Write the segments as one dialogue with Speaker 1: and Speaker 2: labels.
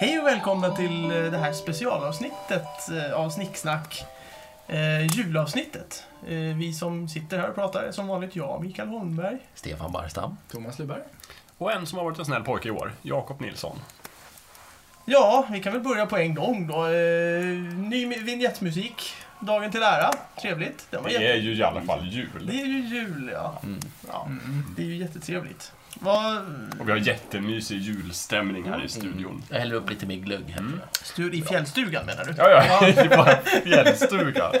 Speaker 1: Hej och välkomna till eh, det här specialavsnittet eh, av Snicksnack. Eh, julavsnittet. Eh, vi som sitter här och pratar är som vanligt jag, Mikael Holmberg.
Speaker 2: Stefan Barstam.
Speaker 3: Thomas Luberg.
Speaker 4: Och en som har varit en snäll pojke i år, Jakob Nilsson.
Speaker 1: Ja, vi kan väl börja på en gång då. Eh, ny mi- vignettmusik, dagen till ära. Trevligt. Den var
Speaker 4: Det är
Speaker 1: jätte-
Speaker 4: ju i alla fall
Speaker 1: det
Speaker 4: jul.
Speaker 1: är ju jul, ja. ja. Det är ju jättetrevligt. Vad,
Speaker 4: Och vi har jättemysig julstämning
Speaker 2: Mm.
Speaker 4: här i studion.
Speaker 2: Jag häller upp lite mer glögg här. tror jag.
Speaker 1: Stur i fjällstugan menar du?
Speaker 4: Ja, ja, i vår fjällstuga.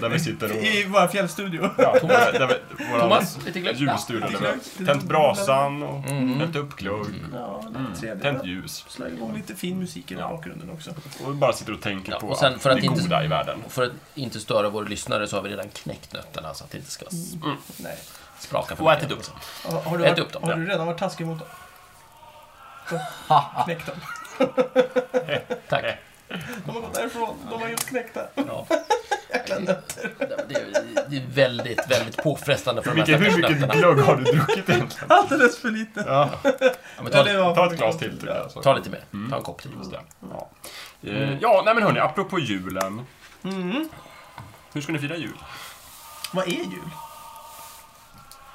Speaker 4: Där vi sitter och...
Speaker 1: I vår fjällstudio.
Speaker 4: Ja, där vi, där vi, våran
Speaker 2: Thomas, lite glögg.
Speaker 4: julstuga. Där vi
Speaker 1: Glögg.
Speaker 4: har tänt brasan och
Speaker 2: Mm.
Speaker 4: tänt upp glögg.
Speaker 1: Ja, det är trevligt.
Speaker 4: Tänt ljus.
Speaker 1: Slå igång lite fin musik i bakgrunden också.
Speaker 4: Och bara sitter och tänker
Speaker 2: Ja,
Speaker 4: på
Speaker 2: och sen för att
Speaker 4: det
Speaker 2: inte-
Speaker 4: goda i världen.
Speaker 2: Och för att inte störa våra lyssnare så har vi redan knäckt nötterna så att det inte ska
Speaker 1: Nej.
Speaker 2: spraka för
Speaker 4: Och
Speaker 2: mycket.
Speaker 4: ätit upp.
Speaker 1: Har, har, du,
Speaker 2: Ät
Speaker 1: varit-
Speaker 2: upp dem,
Speaker 1: har
Speaker 2: ja.
Speaker 1: du redan varit taskig mot dem? Knäckt dem.
Speaker 2: Tack.
Speaker 1: De har gått därifrån. De har gjort knäckta.
Speaker 2: Ja. Det, det, det är väldigt, väldigt påfrestande för de här
Speaker 4: Mikael,
Speaker 2: stackars
Speaker 4: hur mycket
Speaker 2: nötterna.
Speaker 4: glögg har du druckit egentligen?
Speaker 1: Alldeles för lite.
Speaker 4: Ja,
Speaker 2: Ja, men ta,
Speaker 1: det
Speaker 2: lite-
Speaker 1: var-
Speaker 4: ta ett glas till tycker jag. så.
Speaker 2: ta lite mer. Ta en kopp till.
Speaker 4: Just det. Ja. Eh, ja, nej men hörni, apropå julen.
Speaker 1: Mm.
Speaker 4: Hur ska ni fira jul?
Speaker 1: Vad är jul?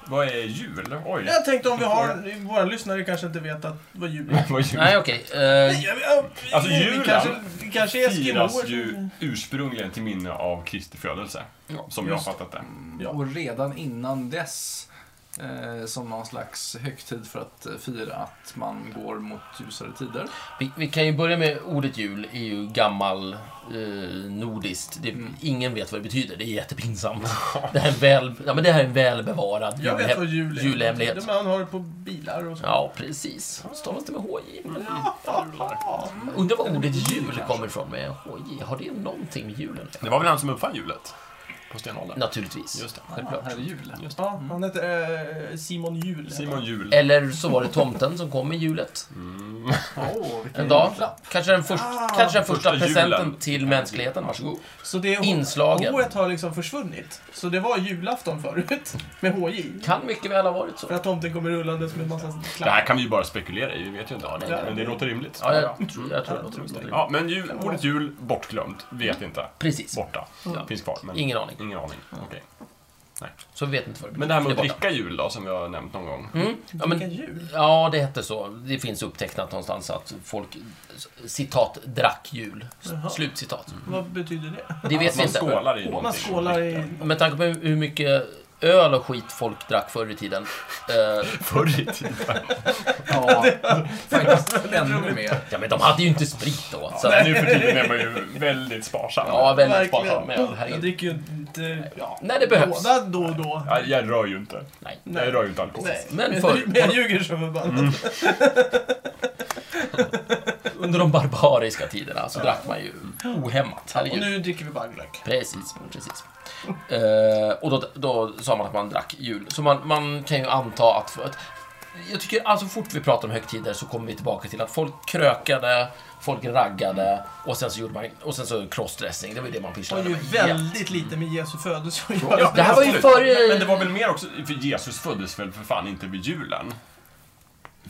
Speaker 4: Vad är jul? Oj.
Speaker 1: Jag tänkte om vi har... Våra lyssnare kanske inte vet att vad jul är.
Speaker 4: Vad är jul?
Speaker 2: Nej, okej. Eh,
Speaker 1: Ja, ja,
Speaker 4: Alltså,
Speaker 1: vi
Speaker 4: julen
Speaker 1: kanske, vi kanske är
Speaker 4: firas
Speaker 1: eskimoer.
Speaker 4: ju ursprungligen till minne av Kristi födelse. som jag har
Speaker 1: just
Speaker 4: fattat det.
Speaker 1: Ja.
Speaker 3: Och redan innan dess eh, som någon slags högtid för att eh, fira att man går mot ljusare tider.
Speaker 2: vi, vi kan ju börja med ordet jul. är ju gammal eh, nordiskt. Det, Ingen vet vad det betyder. Det är jättepinsamt. Det här är, väl, ja, men det här är en välbevarad
Speaker 1: Jag vet vad jul är.
Speaker 2: julhemlighet.
Speaker 1: Det man har på bilar och så.
Speaker 2: Ja, precis. Stavas det med HJ?
Speaker 1: Ja.
Speaker 2: Undrar var ordet jul kommer ifrån med HJ. Har det någonting med julen att göra?
Speaker 4: Det var väl han som uppfann hjulet? På stenåldern?
Speaker 2: Naturligtvis.
Speaker 4: Just det.
Speaker 2: Självklart.
Speaker 3: Här är julen.
Speaker 1: Ja, han heter eh, Simon Jul.
Speaker 4: Mm. Simon Jul. Mm.
Speaker 2: Eller så var det tomten som kom med julet
Speaker 3: Åh, vilken
Speaker 2: en dag.
Speaker 3: julklapp.
Speaker 2: Kanske den, först, kanske den första
Speaker 4: Första julen.
Speaker 2: presenten till mänskligheten. Varsågod.
Speaker 1: Så det
Speaker 2: Inslagen.
Speaker 1: Hået har liksom försvunnit. Så det var julafton förut. Med HJ.
Speaker 2: Kan mycket väl ha varit så.
Speaker 1: För att tomten kommer rullandes med massa
Speaker 4: Det här
Speaker 1: klappar.
Speaker 4: kan vi ju bara spekulera i, vi vet ju inte.
Speaker 2: Ja, nej,
Speaker 1: nej.
Speaker 4: Men det låter rimligt.
Speaker 2: Ja, jag tror, jag tror det låter
Speaker 4: Just det.
Speaker 2: rimligt.
Speaker 4: Mm. Ja, men jul, ordet jul, bortglömt. Vet inte.
Speaker 2: Precis.
Speaker 4: Borta.
Speaker 2: Ja.
Speaker 4: Finns kvar, men
Speaker 2: Mm. Ingen aning.
Speaker 4: ingen aning. Okej.
Speaker 2: Så vi vet inte vad det
Speaker 4: Men det här med att
Speaker 2: betyder. är
Speaker 4: dricka jul då, som vi har nämnt någon gång.
Speaker 2: borta. Mm. Ja,
Speaker 1: Vilka
Speaker 2: men
Speaker 1: jul.
Speaker 2: Ja, det hette så. Det finns upptecknat någonstans att folk, citat, drack jul.
Speaker 1: Jaha.
Speaker 2: Slutcitat.
Speaker 1: Vad betyder det?
Speaker 2: Det vet
Speaker 4: Att
Speaker 2: vi
Speaker 4: Mm. man
Speaker 2: inte.
Speaker 4: skålar i
Speaker 1: Man
Speaker 4: någonting.
Speaker 1: skålar i...
Speaker 2: Med tanke på hur mycket öl och skit folk drack förr i tiden. Eh,
Speaker 4: Förr i tiden.
Speaker 3: Ja, faktiskt ännu mer.
Speaker 2: ja, men de hade ju inte sprit då. Så,
Speaker 4: Ja, nu för tiden är man ju väldigt sparsam.
Speaker 2: ja, väldigt
Speaker 1: Verkligen. Oh,
Speaker 2: sparsam med öl.
Speaker 1: Jag
Speaker 2: Herregud.
Speaker 1: dricker ju inte... Ja.
Speaker 2: När det behövs.
Speaker 1: Båda då och då.
Speaker 4: Ja, Jag rör ju inte.
Speaker 2: Nej.
Speaker 1: Nej.
Speaker 4: Jag rör ju inte alkohol.
Speaker 1: Nej.
Speaker 2: Men
Speaker 1: Men
Speaker 2: Mm. förr-
Speaker 1: jag ljuger som förbannat.
Speaker 2: Under de barbariska tiderna så drack man ju ohämmat.
Speaker 1: Och
Speaker 2: Herregud.
Speaker 1: nu dricker vi bara glögg.
Speaker 2: Precis, precis. Eh, och då, då sa man att man drack jul. Så man, man kan ju anta att, att... Jag tycker att så fort vi pratar om högtider så kommer vi tillbaka till att folk krökade, folk raggade och sen så gjorde man... Och sen så crossdressing, det var ju det man
Speaker 1: Det har
Speaker 2: pysslade
Speaker 1: ju
Speaker 2: med.
Speaker 1: väldigt lite med Jesu födelse att
Speaker 4: Ja,
Speaker 1: göra.
Speaker 2: Det här var ju
Speaker 4: absolut.
Speaker 2: före-
Speaker 4: Men- Men det var väl mer också, för Jesus föddes väl för fan inte vid julen?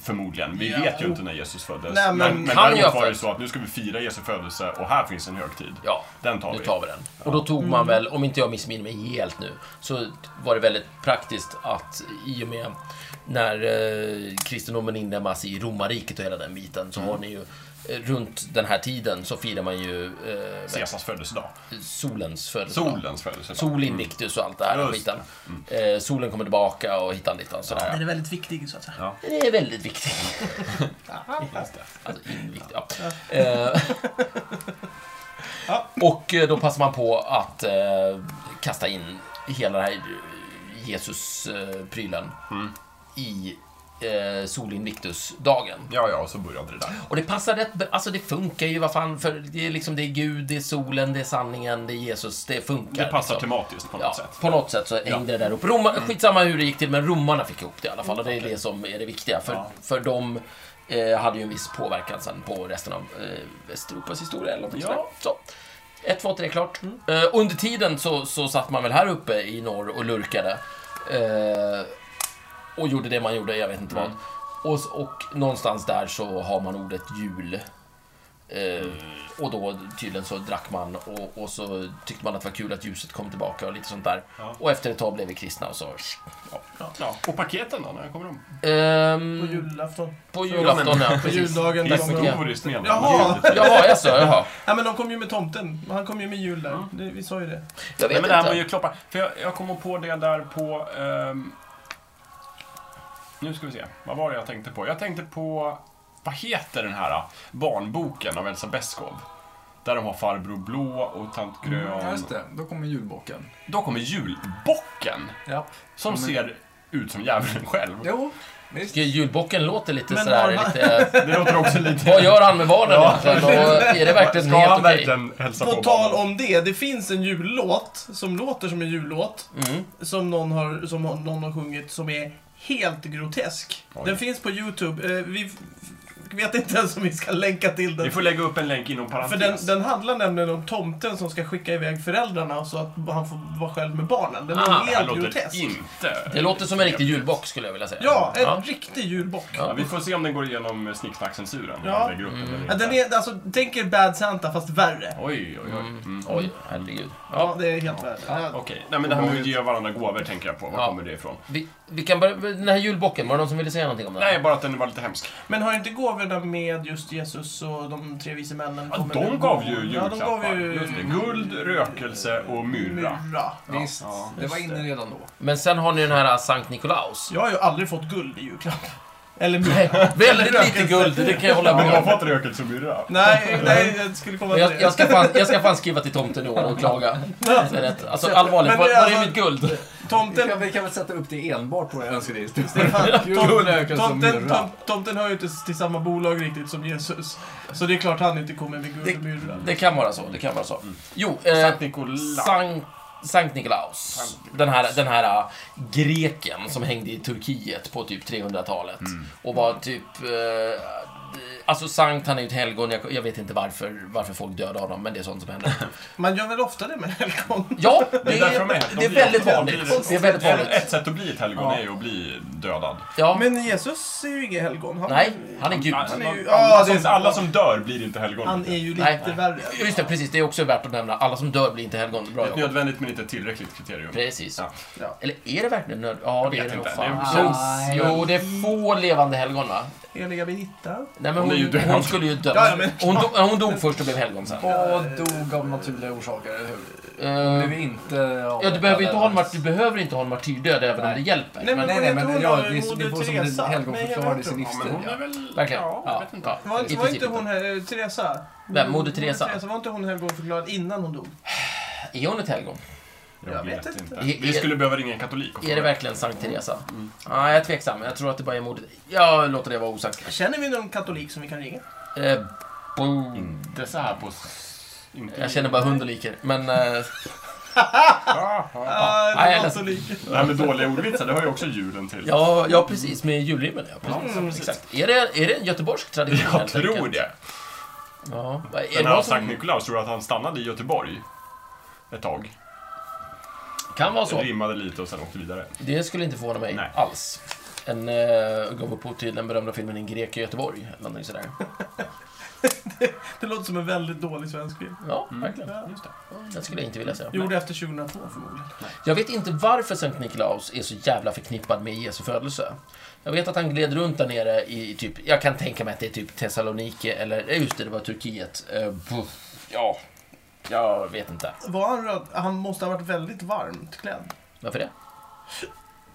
Speaker 4: Förmodligen. Vi
Speaker 1: Ja.
Speaker 4: vet ju inte när Jesus föddes.
Speaker 1: Nej, men
Speaker 4: men men
Speaker 2: kan jag
Speaker 4: däremot var det
Speaker 2: föds-
Speaker 4: så att nu ska vi fira Jesu födelse och här finns en högtid.
Speaker 2: Ja,
Speaker 4: Den tar
Speaker 2: nu
Speaker 4: vi.
Speaker 2: tar vi den. Och då tog man väl, om inte jag missminner mig helt nu, så var det väldigt praktiskt att i och med när eh, kristendomen inlemmas i romarriket och hela den biten så har ni ju eh, Runt den här tiden så firar man ju eh,
Speaker 4: Caesars födelsedag.
Speaker 2: solens födelsedag.
Speaker 4: Solens födelsedag.
Speaker 2: Sol Mm. invictus och allt det här
Speaker 4: Just
Speaker 2: skiten. Eh, solen kommer tillbaka och hittan dittan sådär.
Speaker 1: Den är väldigt viktig så att säga.
Speaker 2: Det är väldigt viktigt. Alltså invikt, ja. Eh,
Speaker 1: Ja.
Speaker 2: och eh, då passar man på att eh,
Speaker 4: Mm.
Speaker 2: kasta in hela den här Jesus-prylen eh, i eh, Solinvictus-dagen.
Speaker 4: Ja, ja, och så började det där.
Speaker 2: Och det passar rätt bra. Alltså det funkar ju, vad fan, för det är liksom det är Gud, det är solen, det är sanningen, det är Jesus, det funkar.
Speaker 4: Det passar
Speaker 2: liksom.
Speaker 4: tematiskt alltså, på något
Speaker 2: Ja,
Speaker 4: sätt.
Speaker 2: på något sätt så hängde det där upp. Roma, Skitsamma hur det gick till, men romarna fick ihop det i alla fall. Och det är det som är det viktiga. För,
Speaker 4: Ja.
Speaker 2: för de eh, hade ju en viss påverkan sen på resten av eh, Västeuropas historia eller någonting
Speaker 4: Ja. Mm.
Speaker 2: sådär. Så. Ett, två, tre, klart. Eh, under tiden så, så satt man väl här uppe i norr och lurkade. Eh, och gjorde det man gjorde, jag vet inte
Speaker 4: Mm.
Speaker 2: vad. Och, s- och någonstans där så har man ordet jul. Eh, och då tydligen så drack man och, och så tyckte man att det var kul att ljuset kom tillbaka och lite sånt där.
Speaker 4: Ja.
Speaker 2: Och efter ett tag blev vi kristna och så...
Speaker 4: Ja. Och paketen då, när kommer de?
Speaker 2: Ehm,
Speaker 1: På julafton.
Speaker 2: på julafton, ja.
Speaker 1: På
Speaker 2: Precis.
Speaker 1: juldagen. Där kommer de.
Speaker 4: Historiskt menar
Speaker 1: Jaha.
Speaker 2: Jaha, jaså, jaha.
Speaker 1: Ja, men de kom ju med tomten. Han kom ju med jul där. Det, vi sa ju det.
Speaker 2: Jag
Speaker 4: Nej,
Speaker 2: vet
Speaker 4: men det här
Speaker 2: inte.
Speaker 4: var ju kloppa. För jag, jag kommer på det där på... ehm, nu ska vi se. Vad var det jag tänkte på? Jag tänkte på... Vad heter den här ah, barnboken av Elsa Beskow? Där de har farbror blå och tant
Speaker 1: Mm,
Speaker 4: grön.
Speaker 3: Ja, Mm, just det. Då kommer julbocken.
Speaker 4: Då kommer julbocken.
Speaker 3: Ja.
Speaker 4: Som
Speaker 3: Ja, men-
Speaker 4: ser ut som djävulen själv.
Speaker 3: Jo, visst.
Speaker 2: Julbocken låter lite
Speaker 1: Men
Speaker 2: sådär,
Speaker 1: har han-
Speaker 2: lite...
Speaker 4: Det låter också lite...
Speaker 2: Vad gör han med barnen
Speaker 4: Ja.
Speaker 2: egentligen? Och är det verkligen
Speaker 4: Ska
Speaker 2: helt
Speaker 4: han
Speaker 2: okej?
Speaker 4: verkligen hälsa på
Speaker 1: På tal
Speaker 4: barnen?
Speaker 1: om det, det finns en jullåt som låter som en jullåt.
Speaker 2: Mm.
Speaker 1: Som någon har, som någon har sjungit som är helt grotesk.
Speaker 4: Oj.
Speaker 1: Den finns på YouTube. Eh, Vi f- vet inte ens om vi ska länka till den.
Speaker 4: Vi får lägga upp en länk inom
Speaker 1: För
Speaker 4: parentes.
Speaker 1: den, den handlar nämligen om tomten som ska skicka iväg föräldrarna så att han får vara själv med barnen. Den är
Speaker 2: Ah,
Speaker 4: det här
Speaker 1: helt
Speaker 4: låter
Speaker 1: grotesk.
Speaker 4: inte...
Speaker 2: Det låter som en riktig julbock skulle jag vilja säga.
Speaker 1: Ja, en riktig julbock.
Speaker 2: Ja.
Speaker 1: Ja.
Speaker 4: Ja, vi får se om den går igenom snicksnackcensuren.
Speaker 1: Ja.
Speaker 4: Ja. Lägger upp den, eller
Speaker 1: den är,
Speaker 4: inte.
Speaker 1: alltså, tänk er Bad Santa fast värre.
Speaker 4: Oj, oj, oj.
Speaker 2: Mm.
Speaker 4: Mm.
Speaker 2: Oj, herregud.
Speaker 1: Ja, det är helt värre. Ja.
Speaker 4: Okej, nej men det här med att ge varandra gåvor tänker jag på. Var
Speaker 2: Ja.
Speaker 4: kommer det ifrån?
Speaker 2: Vi, vi kan börja, den här julbocken, var det någon som ville säga någonting om den?
Speaker 4: Nej, bara att den var lite hemsk.
Speaker 1: Men har inte gåvorna med just Jesus och de tre vise männen?
Speaker 4: Ja,
Speaker 1: kommer
Speaker 4: Alltså, de
Speaker 1: med
Speaker 4: gav
Speaker 1: gåvor?
Speaker 4: ju julklappar.
Speaker 1: Ja, de gav ju
Speaker 4: Just det. Guld, rökelse och myrra.
Speaker 1: myrra.
Speaker 3: visst.
Speaker 4: ja,
Speaker 3: det var
Speaker 1: just
Speaker 3: inne redan då.
Speaker 2: Men sen har ni den här Sankt Nikolaus.
Speaker 1: Jag har ju aldrig fått guld i julklapp. Eller myrra.
Speaker 2: Nej, väldigt lite guld, det kan jag hålla
Speaker 4: Men
Speaker 2: med
Speaker 4: de har
Speaker 2: om.
Speaker 4: fått rökelse och myrra.
Speaker 1: nej, nej, jag skulle komma
Speaker 2: Men
Speaker 1: till
Speaker 2: Jag, jag,
Speaker 1: det.
Speaker 2: ska fan, jag ska fan skriva till tomten i år och klaga. Det är rätt. Alltså allvarligt,
Speaker 1: Men
Speaker 2: var,
Speaker 1: det är
Speaker 2: var är
Speaker 1: alltså-
Speaker 2: mitt guld?
Speaker 3: Vi kan,
Speaker 1: Tomten...
Speaker 3: vi kan väl sätta upp det enbart på vår önskelista.
Speaker 1: Stefan,
Speaker 3: Guld, rökelse och
Speaker 1: tomten,
Speaker 3: myrra.
Speaker 1: tom, tomten hör ju inte till samma bolag riktigt som Jesus. Så det är klart han inte kommer med guld och myrra.
Speaker 2: Det kan vara så, det kan vara så. Jo, eh,
Speaker 4: Sankt Nikolaus.
Speaker 2: Sankt, Sankt Nikolaus. Den här, den här äh, greken som hängde i Turkiet på typ 300-talet. Och var typ... eh, Alltså Sankt, han är ju ett helgon. Jag, jag vet inte varför, varför folk dödade honom, men det är sånt som händer.
Speaker 1: Man gör väl ofta det med helgon?
Speaker 2: Ja, det,
Speaker 4: Det är därför de är här.
Speaker 2: det är
Speaker 4: blir-
Speaker 2: väldigt
Speaker 4: de blir-
Speaker 2: vanligt. Det är väldigt vanligt.
Speaker 4: Ett sätt att bli ett helgon är ju att bli dödad.
Speaker 2: Ja,
Speaker 1: Men Jesus är ju ingen helgon. Han,
Speaker 2: nej, han är gud.
Speaker 1: Han är ju- ja,
Speaker 4: Alla
Speaker 1: det är
Speaker 4: som, alla som dör blir inte helgon.
Speaker 1: han är ju lite
Speaker 2: Nej.
Speaker 1: värre.
Speaker 2: Just det, precis. Det är också värt att nämna. Alla som dör blir inte helgon. Bra
Speaker 4: Ett
Speaker 2: jobbat.
Speaker 4: nödvändigt men inte ett tillräckligt kriterium.
Speaker 2: Precis.
Speaker 4: Ja.
Speaker 1: Ja,
Speaker 2: Eller är det verkligen nöd... Ja, det
Speaker 4: vet
Speaker 2: är det nog
Speaker 4: inte.
Speaker 2: fan.
Speaker 4: Det
Speaker 3: är-
Speaker 2: Jo,
Speaker 3: Nej.
Speaker 2: Jo, det är få levande helgon va?
Speaker 1: heliga Birgitta.
Speaker 2: Nej, men
Speaker 4: Hon
Speaker 2: hon,
Speaker 4: är ju död.
Speaker 2: hon, skulle ju dö.
Speaker 1: Ja, ja, men-
Speaker 2: hon, do, hon dog först och blev helgon sen.
Speaker 3: Och dog av naturliga orsaker, eller hur?
Speaker 2: Eh,
Speaker 3: Blev inte
Speaker 2: ja, du, behöver inte ha en mart- du behöver inte ha en martyrdöd även om
Speaker 3: Nej.
Speaker 2: det hjälper.
Speaker 1: Nej, men-
Speaker 3: Nej, nej, men
Speaker 1: Hon
Speaker 3: ja,
Speaker 1: heter
Speaker 3: vi,
Speaker 1: hon,
Speaker 3: vi får som
Speaker 1: Teresa.
Speaker 3: en helgon
Speaker 1: Nej, jag
Speaker 3: förklarade
Speaker 1: vet
Speaker 3: sin
Speaker 1: inte.
Speaker 4: Ja, men
Speaker 3: livsstil.
Speaker 4: hon är väl...
Speaker 2: Verkligen.
Speaker 4: Ja, jag
Speaker 2: Ja,
Speaker 4: vet inte.
Speaker 2: ja.
Speaker 1: Var
Speaker 2: I
Speaker 1: inte, var
Speaker 2: princip
Speaker 1: inte hon eh, Teresa?
Speaker 2: Vem? Moder Teresa?
Speaker 1: Var inte hon helgonförklarad innan hon dog?
Speaker 2: Är hon ett helgon?
Speaker 4: Jag vet inte.
Speaker 2: Är-
Speaker 4: Vi
Speaker 2: är-
Speaker 4: skulle behöva ringa en katolik och
Speaker 2: Är det verkligen Sankt Teresa? Ja, jag är tveksam. Jag tror att det bara är modet. Jag låter det vara osagt.
Speaker 1: Känner vi någon katolik som vi kan ringa?
Speaker 2: Eh, boom.
Speaker 4: Inte så här på... s- Inte
Speaker 2: Jag känner bara hund och liker. Men eh,
Speaker 4: Ah, ah.
Speaker 1: Ah,
Speaker 2: nej, jag
Speaker 1: det
Speaker 2: är
Speaker 1: var katolik.
Speaker 4: Det här med dåliga ordvitsar, det hör ju också julen till.
Speaker 2: ja, ja, precis. Med julrimmen, ja. Precis.
Speaker 1: Mm.
Speaker 2: Exakt. Är det, är det en göteborgsk tradition?
Speaker 4: Jag
Speaker 2: helt
Speaker 4: tror
Speaker 2: enkelt?
Speaker 4: det.
Speaker 2: Ja. Är det
Speaker 4: Den här
Speaker 2: någon
Speaker 4: Sankt
Speaker 2: som
Speaker 4: Nikolaus, tror du att han stannade i Göteborg? Ett tag.
Speaker 2: kan vara så?
Speaker 4: Rimmade lite och sen åkte vidare.
Speaker 2: Det skulle inte förvåna mig
Speaker 4: Nej.
Speaker 2: alls. En eh, gav upphov till den berömda filmen En grek i Göteborg, eller någonting sådär.
Speaker 1: Det låter som en väldigt dålig svensk film.
Speaker 2: Ja, verkligen.
Speaker 1: Ja.
Speaker 4: Mm. Just det.
Speaker 2: Den skulle jag inte vilja säga.
Speaker 1: Gjorde efter 2002 förmodligen.
Speaker 2: Jag vet inte varför Sankt Nikolaus är så jävla förknippad med Jesu födelse. Jag vet att han gled runt där nere i i typ, jag kan tänka mig att det är typ Thessaloniki eller, eh, just det, det var Turkiet. Eh, puff. ja, jag vet inte.
Speaker 1: Var han röd? Han måste ha varit väldigt varmt klädd.
Speaker 2: Varför det?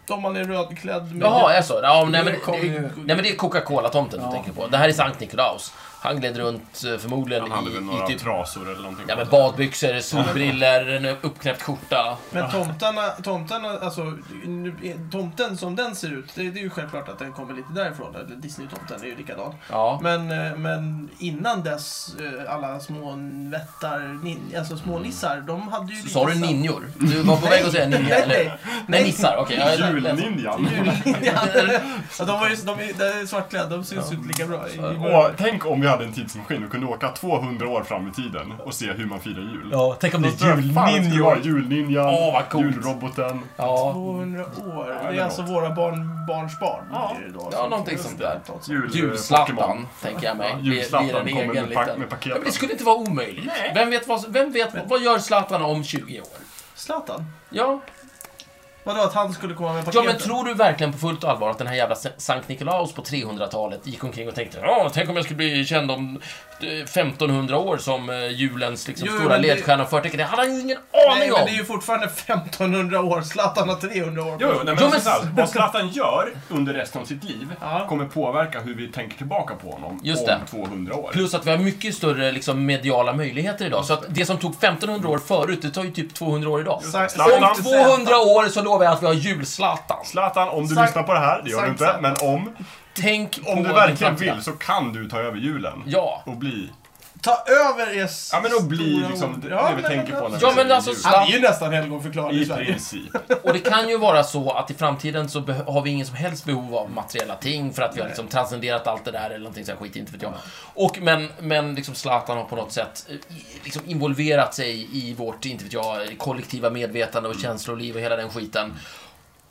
Speaker 1: Om man är rödklädd med...
Speaker 2: Jaha, är så? Ja, nej, men,
Speaker 3: Det kom ju-
Speaker 2: nej men det är Coca-Cola-tomten
Speaker 3: Ja.
Speaker 2: du tänker på. Det här är Sankt Nikolaus. Han gled runt eh, förmodligen
Speaker 4: Han hade
Speaker 2: i,
Speaker 4: väl
Speaker 2: i
Speaker 4: några
Speaker 2: typ
Speaker 4: trasor eller någonting.
Speaker 2: ja, men badbyxor, solbriller, en uppknäppt skjorta.
Speaker 1: Men tomtarna, tomtarna, alltså, nu- tomten som den ser ut, det, det är ju självklart att den kommer lite därifrån. Eller Disney-tomten är ju likadan.
Speaker 2: Ja.
Speaker 1: Men, eh, men innan dess, eh, alla små vättar, nin, alltså små nissar, de hade ju...
Speaker 2: Mm. Så
Speaker 1: lite
Speaker 2: Sa du
Speaker 1: sam-
Speaker 2: ninjor? Du var på väg att säga ninja,
Speaker 1: Nej,
Speaker 2: eller?
Speaker 1: nej.
Speaker 2: Nej, nissar. Okej. jag är lä- ledsen.
Speaker 4: Julninjan.
Speaker 1: Julninjan. ja, de var ju de är, de är svartklädda, de syns ju inte lika bra. i- i
Speaker 4: Åh,
Speaker 1: början.
Speaker 4: tänk om vi hade en tidsmaskin och kunde åka 200 år fram i tiden och se hur man firar jul.
Speaker 2: Ja, tänk om det
Speaker 4: Då tror jag
Speaker 2: är
Speaker 4: fan det skulle vara
Speaker 2: julninjor.
Speaker 4: Julninjan,
Speaker 2: Åh, vad coolt.
Speaker 4: julroboten.
Speaker 2: Ja,
Speaker 1: 200 år. Det
Speaker 4: eller
Speaker 1: är alltså
Speaker 4: något.
Speaker 1: våra barn, barns barn.
Speaker 4: Ja.
Speaker 1: Det är ju då,
Speaker 2: Ja, någonting sånt där.
Speaker 4: Jul,
Speaker 2: julslattan, tänker jag mig. Blir- blir en
Speaker 4: Julslattan kommer
Speaker 2: egen
Speaker 4: med, pa-
Speaker 2: liten...
Speaker 4: med
Speaker 2: Ja, men det
Speaker 4: paketen.
Speaker 2: skulle inte vara omöjligt.
Speaker 4: Nej.
Speaker 2: Vem vet, vad, vem vet vad gör Zlatan om 20 år?
Speaker 1: Zlatan?
Speaker 2: Ja.
Speaker 1: Vadå, att han skulle komma med
Speaker 2: ja,
Speaker 1: paketet?
Speaker 2: men tror du verkligen på fullt allvar att den här jävla S- Sankt Nikolaus på 300-talet gick omkring och tänkte ja, tänk om jag skulle bli känd om eh, 1500 år som eh, julens liksom,
Speaker 1: Jo,
Speaker 2: stora
Speaker 1: men det-
Speaker 2: ledstjärna och förtecken? Det hade han ju ingen
Speaker 1: Nej,
Speaker 2: aning
Speaker 1: men
Speaker 2: om!
Speaker 1: det är ju fortfarande 1500 år. Zlatan har 300 år.
Speaker 4: Jo, jo, nej, men
Speaker 2: Jo,
Speaker 4: alltså
Speaker 2: men-
Speaker 4: så här, vad Zlatan gör under resten av sitt liv
Speaker 1: Ja.
Speaker 4: kommer påverka hur vi tänker tillbaka på honom
Speaker 2: Just
Speaker 4: om
Speaker 2: det.
Speaker 4: 200 år.
Speaker 2: Plus att vi har mycket större liksom, mediala möjligheter idag. Så att det som tog 1500 år förut, det tar ju typ 200 år idag.
Speaker 1: Sa-
Speaker 4: Zlatan.
Speaker 2: Om
Speaker 1: Sankt Zlatan.
Speaker 2: 200 år så lovar jag att vi har julslatan.
Speaker 4: Zlatan, om du
Speaker 1: Sankt-
Speaker 4: lyssnar på det här, det gör du
Speaker 1: Sankt
Speaker 4: inte, men om,
Speaker 2: Tänk på
Speaker 4: om du
Speaker 2: din
Speaker 4: verkligen
Speaker 2: framtida.
Speaker 4: vill så kan du ta över julen.
Speaker 2: Ja.
Speaker 4: Och bli...
Speaker 1: Ta över er
Speaker 4: Ja, men och bli
Speaker 1: stora
Speaker 4: liksom
Speaker 1: ord.
Speaker 4: det,
Speaker 1: Ja,
Speaker 4: det vi
Speaker 1: men-
Speaker 4: tänker på när vi
Speaker 2: Ja, men
Speaker 4: säger
Speaker 2: alltså,
Speaker 4: jul.
Speaker 1: Han är ju nästan helgonförklarad i
Speaker 4: I
Speaker 1: Sverige.
Speaker 4: princip.
Speaker 2: Och det kan ju vara så att i framtiden så beh- har vi ingen som helst behov av materiella ting för att vi har liksom transcenderat allt det där eller någonting så här skit, inte vet jag. Och, men men liksom Zlatan har på något sätt eh, i- liksom involverat sig i vårt, inte vet jag, kollektiva medvetande och känsloliv och hela den skiten.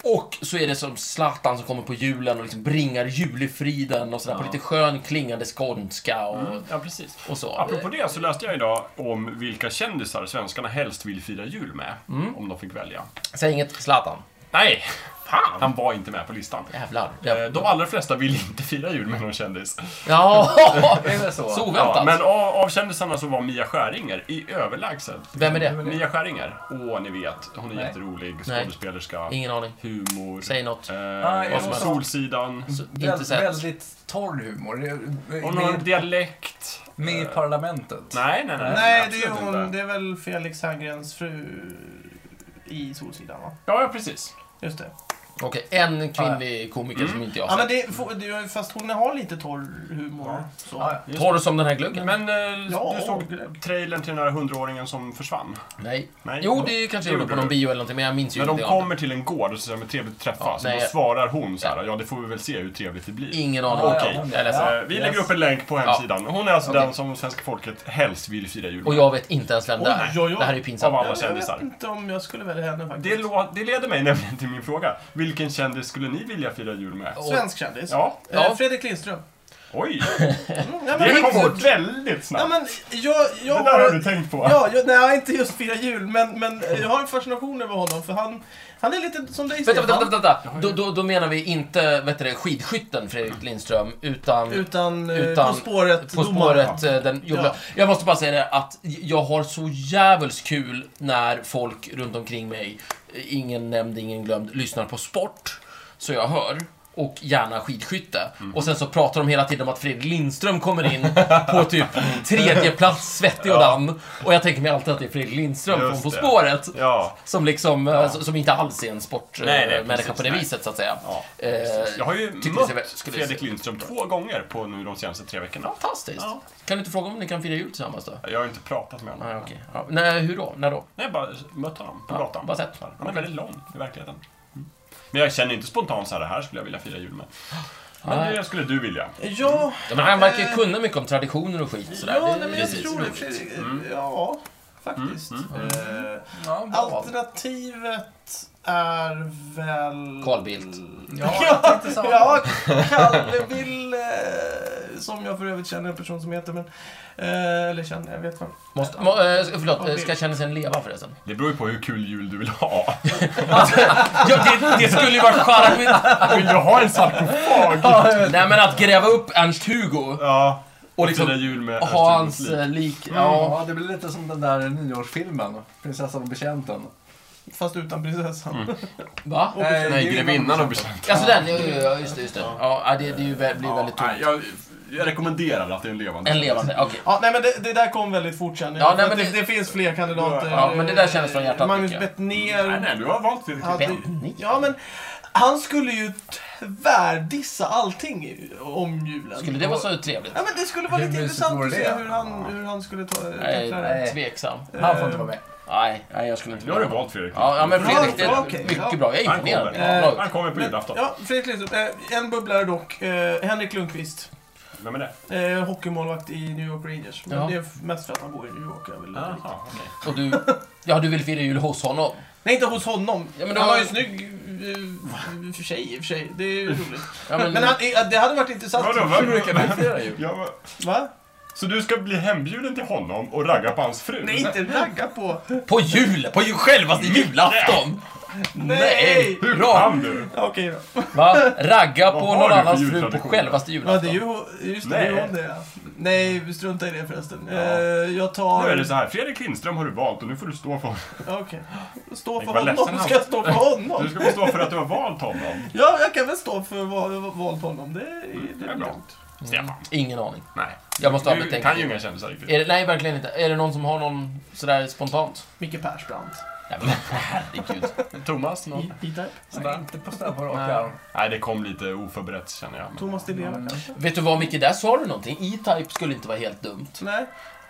Speaker 2: Och så är det som Zlatan som kommer på julen och liksom bringar julefriden och sådär på lite skön klingande skånska och,
Speaker 4: Ja, precis.
Speaker 2: och så.
Speaker 4: Mm. Apropå det så läste jag idag om vilka kändisar svenskarna helst vill fira jul med.
Speaker 2: Mm.
Speaker 4: Om de fick välja.
Speaker 2: Säg inget Zlatan.
Speaker 4: Nej! Fan! Han var inte med på listan.
Speaker 2: Jävlar.
Speaker 4: Eh, De allra flesta vill inte fira jul med någon kändis.
Speaker 2: Ja,
Speaker 3: så?
Speaker 2: så
Speaker 4: Ja,
Speaker 2: oväntat.
Speaker 4: men av, av kändisarna så var Mia Skäringer i överlägset.
Speaker 2: Vem är det?
Speaker 4: Mia Skäringer. Åh, ni vet. Hon är
Speaker 3: Nej.
Speaker 4: jätterolig. Skådespelerska.
Speaker 2: Ingen aning.
Speaker 4: Humor.
Speaker 2: Säg något. Ah,
Speaker 4: Eh,
Speaker 3: jag
Speaker 4: och
Speaker 2: måste-
Speaker 4: Solsidan.
Speaker 2: Inte
Speaker 3: Väldigt,
Speaker 2: sett.
Speaker 3: väldigt torr humor. Det är-
Speaker 4: Hon har en
Speaker 3: Med,
Speaker 4: dialekt.
Speaker 3: med i
Speaker 4: Eh,
Speaker 3: parlamentet.
Speaker 4: Nej, nej, nej.
Speaker 1: Nej, det är ju
Speaker 4: absolut
Speaker 1: hon.
Speaker 4: inte.
Speaker 1: Det är väl Felix Herngrens fru i Solsidan, va?
Speaker 4: Ja, ja, precis.
Speaker 1: Just det.
Speaker 2: Okej, en kvinnlig komiker som inte jag
Speaker 1: Ja,
Speaker 2: har
Speaker 1: men
Speaker 2: sett.
Speaker 1: det, är- få- det är ju- fast hon har lite torr humor.
Speaker 4: Alltså-
Speaker 1: Så.
Speaker 4: Ja.
Speaker 3: Ja, ja.
Speaker 2: Torr som den här glöggen?
Speaker 4: Men eh,
Speaker 1: Ja,
Speaker 4: du såg
Speaker 1: glögg.
Speaker 4: trailern till den här hundraåringen som försvann?
Speaker 2: Nej.
Speaker 4: Nej.
Speaker 2: Jo, det kanske jag gjorde på någon bio eller någonting, men jag minns ju
Speaker 4: När
Speaker 2: inte.
Speaker 4: de
Speaker 2: det.
Speaker 4: kommer till en gård och säger men trevligt att träffas,
Speaker 2: Ja,
Speaker 4: då
Speaker 2: nej.
Speaker 4: svarar hon så här, ja det får vi väl se hur trevligt det blir.
Speaker 2: Ingen aning.
Speaker 4: Okej.
Speaker 2: Okej. Jag är ledsen.
Speaker 4: Eh, Vi
Speaker 3: Yes.
Speaker 4: lägger upp en länk på hemsidan. Hon är alltså
Speaker 2: Okej.
Speaker 4: den som svenska folket helst vill fira jul
Speaker 2: Och jag vet inte ens vem det
Speaker 1: Oj,
Speaker 2: är.
Speaker 1: oj, oj.
Speaker 2: Det här är ju
Speaker 4: av
Speaker 2: pinsamt.
Speaker 4: alla
Speaker 1: Jag vet
Speaker 4: kändisar.
Speaker 1: inte om jag skulle välja henne
Speaker 4: Det,
Speaker 1: faktiskt.
Speaker 4: lå- det leder mig nämligen till min fråga. Vilken kändis skulle ni vilja fira jul med?
Speaker 2: Oh.
Speaker 1: Svensk kändis.
Speaker 4: Ja,
Speaker 1: Eh,
Speaker 2: Ja.
Speaker 1: Fredrik Lindström.
Speaker 4: oj.
Speaker 1: Mm, ja,
Speaker 4: Det
Speaker 1: men,
Speaker 4: kom
Speaker 2: fort.
Speaker 4: väldigt
Speaker 1: ja,
Speaker 4: snabbt.
Speaker 1: men, jag, jag
Speaker 4: Det där
Speaker 1: har-
Speaker 4: har du tänkt på.
Speaker 1: Ja, jag, nej, inte just fira jul, men, men eh, jag har en fascination över honom för han, han är lite som dig
Speaker 2: Vänta,
Speaker 1: Stefan.
Speaker 2: vänta, vänta. vänta. Då, då, då menar vi inte vet du, det, skidskytten Fredrik Lindström, utan
Speaker 1: Utan, eh,
Speaker 2: Utan-
Speaker 1: På spåret
Speaker 2: På
Speaker 1: domaren.
Speaker 2: spåret, eh, den jobbiga.
Speaker 1: Ja.
Speaker 2: Jag måste bara säga det att jag har så jävels kul när folk runt omkring mig, eh, ingen nämnd, ingen glömd, lyssnar på sport. Så jag hör. Och gärna skidskytte.
Speaker 4: Mm.
Speaker 2: Och sen så pratar de hela tiden om att Fredrik Lindström kommer in på typ tredje plats, svettig och damm. Och jag tänker mig alltid att det är Fredrik Lindström
Speaker 4: Just
Speaker 2: från På
Speaker 4: det.
Speaker 2: spåret.
Speaker 4: Ja.
Speaker 2: Som liksom, eh, s- som inte alls är en
Speaker 4: Nej, nej,
Speaker 2: sportmänniska
Speaker 4: precis,
Speaker 2: på det
Speaker 4: nej.
Speaker 2: viset så att säga.
Speaker 4: Ja,
Speaker 2: Eh,
Speaker 4: Jag har ju
Speaker 2: Tycker det ser väl-
Speaker 4: mött
Speaker 2: skulle det se-
Speaker 4: Fredrik Lindström två gånger på nu de senaste tre veckorna.
Speaker 2: Fantastiskt.
Speaker 4: Ja.
Speaker 2: Kan du inte fråga om ni kan fira jul tillsammans då?
Speaker 4: Jag har ju inte pratat med honom.
Speaker 2: Nej, okej. Ja. Nej, hur då? När då?
Speaker 4: Nej, jag bara mött honom på
Speaker 2: Ja,
Speaker 4: gatan.
Speaker 2: bara sett.
Speaker 4: Så här. Han är väldigt lång i verkligheten. Mm. Men jag känner inte spontant så här, det här skulle jag vilja fira jul med. Men
Speaker 2: Nej.
Speaker 4: det skulle du vilja.
Speaker 1: Ja,
Speaker 2: Ja, men han verkar ju
Speaker 1: Eh,
Speaker 2: kunna mycket om traditioner och skit. Sådär.
Speaker 1: ja nej, men jag
Speaker 2: precis.
Speaker 1: tror det. Fredrik, ja, faktiskt. Eh,
Speaker 3: Ja, bra.
Speaker 1: alternativet är väl...
Speaker 2: Carl Bildt.
Speaker 3: Ja, jag tänkte samma.
Speaker 1: Ja, Kalle Bill, eh, som jag för övrigt känner en person som heter, men... Eh, eller känner, jag vet vem.
Speaker 2: Måste, må, eh, förlåt,
Speaker 1: Carl
Speaker 2: eh,
Speaker 1: Bildt.
Speaker 2: ska kändisen leva förresten?
Speaker 4: Det beror ju på hur kul jul du vill ha.
Speaker 2: Ja, det, det skulle ju vara charmigt!
Speaker 4: Vill du ha en sarkofag?
Speaker 2: Nej, men att gräva upp Ernst-Hugo
Speaker 4: Ja,
Speaker 2: och
Speaker 4: fira
Speaker 2: liksom
Speaker 4: jul med
Speaker 2: ha hans
Speaker 4: Ernst Hugos liv.
Speaker 2: eh, lik.
Speaker 3: Mm.
Speaker 4: Mm.
Speaker 2: Ja.
Speaker 3: Ja, det blir lite som den där nyårsfilmen, Prinsessan och betjänten.
Speaker 1: Fast utan prinsessan.
Speaker 2: Mm. Va?
Speaker 3: Nej,
Speaker 4: Nej,
Speaker 3: Eh, det är
Speaker 4: grevinnan
Speaker 3: ju-
Speaker 4: och betjänten.
Speaker 2: Alltså den, ja, ja, ja, just det, just det. Ja, ja, det, det är ju, vä- blir väldigt
Speaker 4: Ja,
Speaker 2: tomt.
Speaker 4: nej, jag Jag rekommenderar att det är en levande
Speaker 2: En levande, okej.
Speaker 1: Ja, nej, men det, det där kom väldigt fort känner jag.
Speaker 2: Ja, nej,
Speaker 1: För
Speaker 2: men
Speaker 1: att
Speaker 2: det-
Speaker 1: det, det finns fler kandidater.
Speaker 2: Ja, men det där kändes från hjärtat,
Speaker 1: Magnus
Speaker 2: tycker jag.
Speaker 4: Nej,
Speaker 1: Bettner.
Speaker 4: nej, du har valt det riktigt.
Speaker 1: hade-
Speaker 2: Bettner?
Speaker 1: Ja, men han skulle ju tvärdissa allting om julen.
Speaker 2: Skulle det vara så trevligt?
Speaker 1: Ja, men det skulle vara
Speaker 3: Hur
Speaker 1: lite
Speaker 3: mysigt
Speaker 1: intressant
Speaker 3: vore
Speaker 1: att
Speaker 3: det?
Speaker 1: se hur han, hur han skulle ta
Speaker 2: Jag
Speaker 1: tackla det.
Speaker 2: är tveksam.
Speaker 3: Han får inte vara med.
Speaker 2: Nej, nej, jag skulle inte
Speaker 4: Nu har du
Speaker 2: vilja.
Speaker 4: valt Fredrik.
Speaker 2: Ja, ja, men
Speaker 1: Bra,
Speaker 2: Fredrik, det
Speaker 1: bra,
Speaker 2: är
Speaker 1: okej. Ja.
Speaker 2: mycket bra. Jag är
Speaker 4: Han
Speaker 2: imponerad.
Speaker 1: kommer.
Speaker 2: Ja, bra.
Speaker 4: Han kommer på
Speaker 1: Men,
Speaker 4: julafton.
Speaker 1: ja, Fredrik Lindström. Eh, en bubblare dock. Eh, Henrik Lundqvist.
Speaker 4: Vem är det?
Speaker 1: Eh, hockeymålvakt i New York Rangers. Men
Speaker 2: Ja.
Speaker 1: det är mest för att han bor i New York. Jag vill
Speaker 4: Jaha, okej.
Speaker 2: Och du, ja, du vill fira jul hos honom?
Speaker 1: Nej, inte hos honom.
Speaker 2: Ja, men
Speaker 1: men
Speaker 2: det
Speaker 1: han
Speaker 2: var-
Speaker 1: har ju en snygg eh, för sig, i och för sig. Det är ju roligt.
Speaker 2: Ja, men,
Speaker 1: Men han, eh, det hade varit intressant.
Speaker 4: Vadå,
Speaker 3: Hur
Speaker 4: vad?
Speaker 3: brukar man fira jul?
Speaker 4: Ja, men-
Speaker 1: Va?
Speaker 4: Så du ska bli hembjuden till honom och ragga på hans fru?
Speaker 1: Nej, inte ragga på.
Speaker 2: På jul! På ju självaste julafton! Nej!
Speaker 1: Nej!
Speaker 4: Hur
Speaker 2: Bra!
Speaker 4: kan du?
Speaker 1: Ja, Okej då.
Speaker 2: Va? Ragga på
Speaker 4: Vad har
Speaker 2: någon
Speaker 4: du för
Speaker 2: annans fru på
Speaker 4: jultradition?
Speaker 2: självaste
Speaker 1: Ja, det är
Speaker 2: julafton.
Speaker 1: ju, just det, det är ju
Speaker 4: Nej.
Speaker 1: hon det. ja. Nej, strunta i det förresten.
Speaker 4: Ja.
Speaker 1: Eh, jag
Speaker 4: Nu
Speaker 1: tar...
Speaker 4: är det så här, Fredrik Lindström har du valt och nu får du stå för
Speaker 1: Ja, Okej. Stå
Speaker 4: Tänk
Speaker 1: för
Speaker 4: vad ledsen
Speaker 1: honom.
Speaker 4: han-
Speaker 1: Ska jag stå för honom?
Speaker 4: Du ska få stå för att du har valt honom.
Speaker 1: Ja, jag kan väl stå för vad jag valt honom. Det
Speaker 2: Mm,
Speaker 1: är, det
Speaker 4: det
Speaker 1: är
Speaker 4: är bra.
Speaker 1: lugnt.
Speaker 4: Stefan.
Speaker 2: Ingen aning.
Speaker 4: Nej.
Speaker 2: Jag måste ha
Speaker 4: Du kan ju
Speaker 2: betänkt.
Speaker 4: inga kändisar riktigt.
Speaker 2: Är det, nej, verkligen inte. Är det någon som har någon sådär spontant?
Speaker 1: Micke Persbrandt.
Speaker 2: Nej, men herregud.
Speaker 4: Thomas?
Speaker 1: I-
Speaker 2: Mm.
Speaker 4: Någon?
Speaker 1: E-Type.
Speaker 3: Nej, inte på snabb och rak
Speaker 2: Nej.
Speaker 3: arm.
Speaker 4: Nej, det kom lite oförberett känner jag. Men...
Speaker 1: Thomas Di Leva
Speaker 3: Mm.
Speaker 1: kanske?
Speaker 2: Vet du vad Micke, där sa du någonting. E-Type skulle inte vara helt dumt.
Speaker 1: Nej.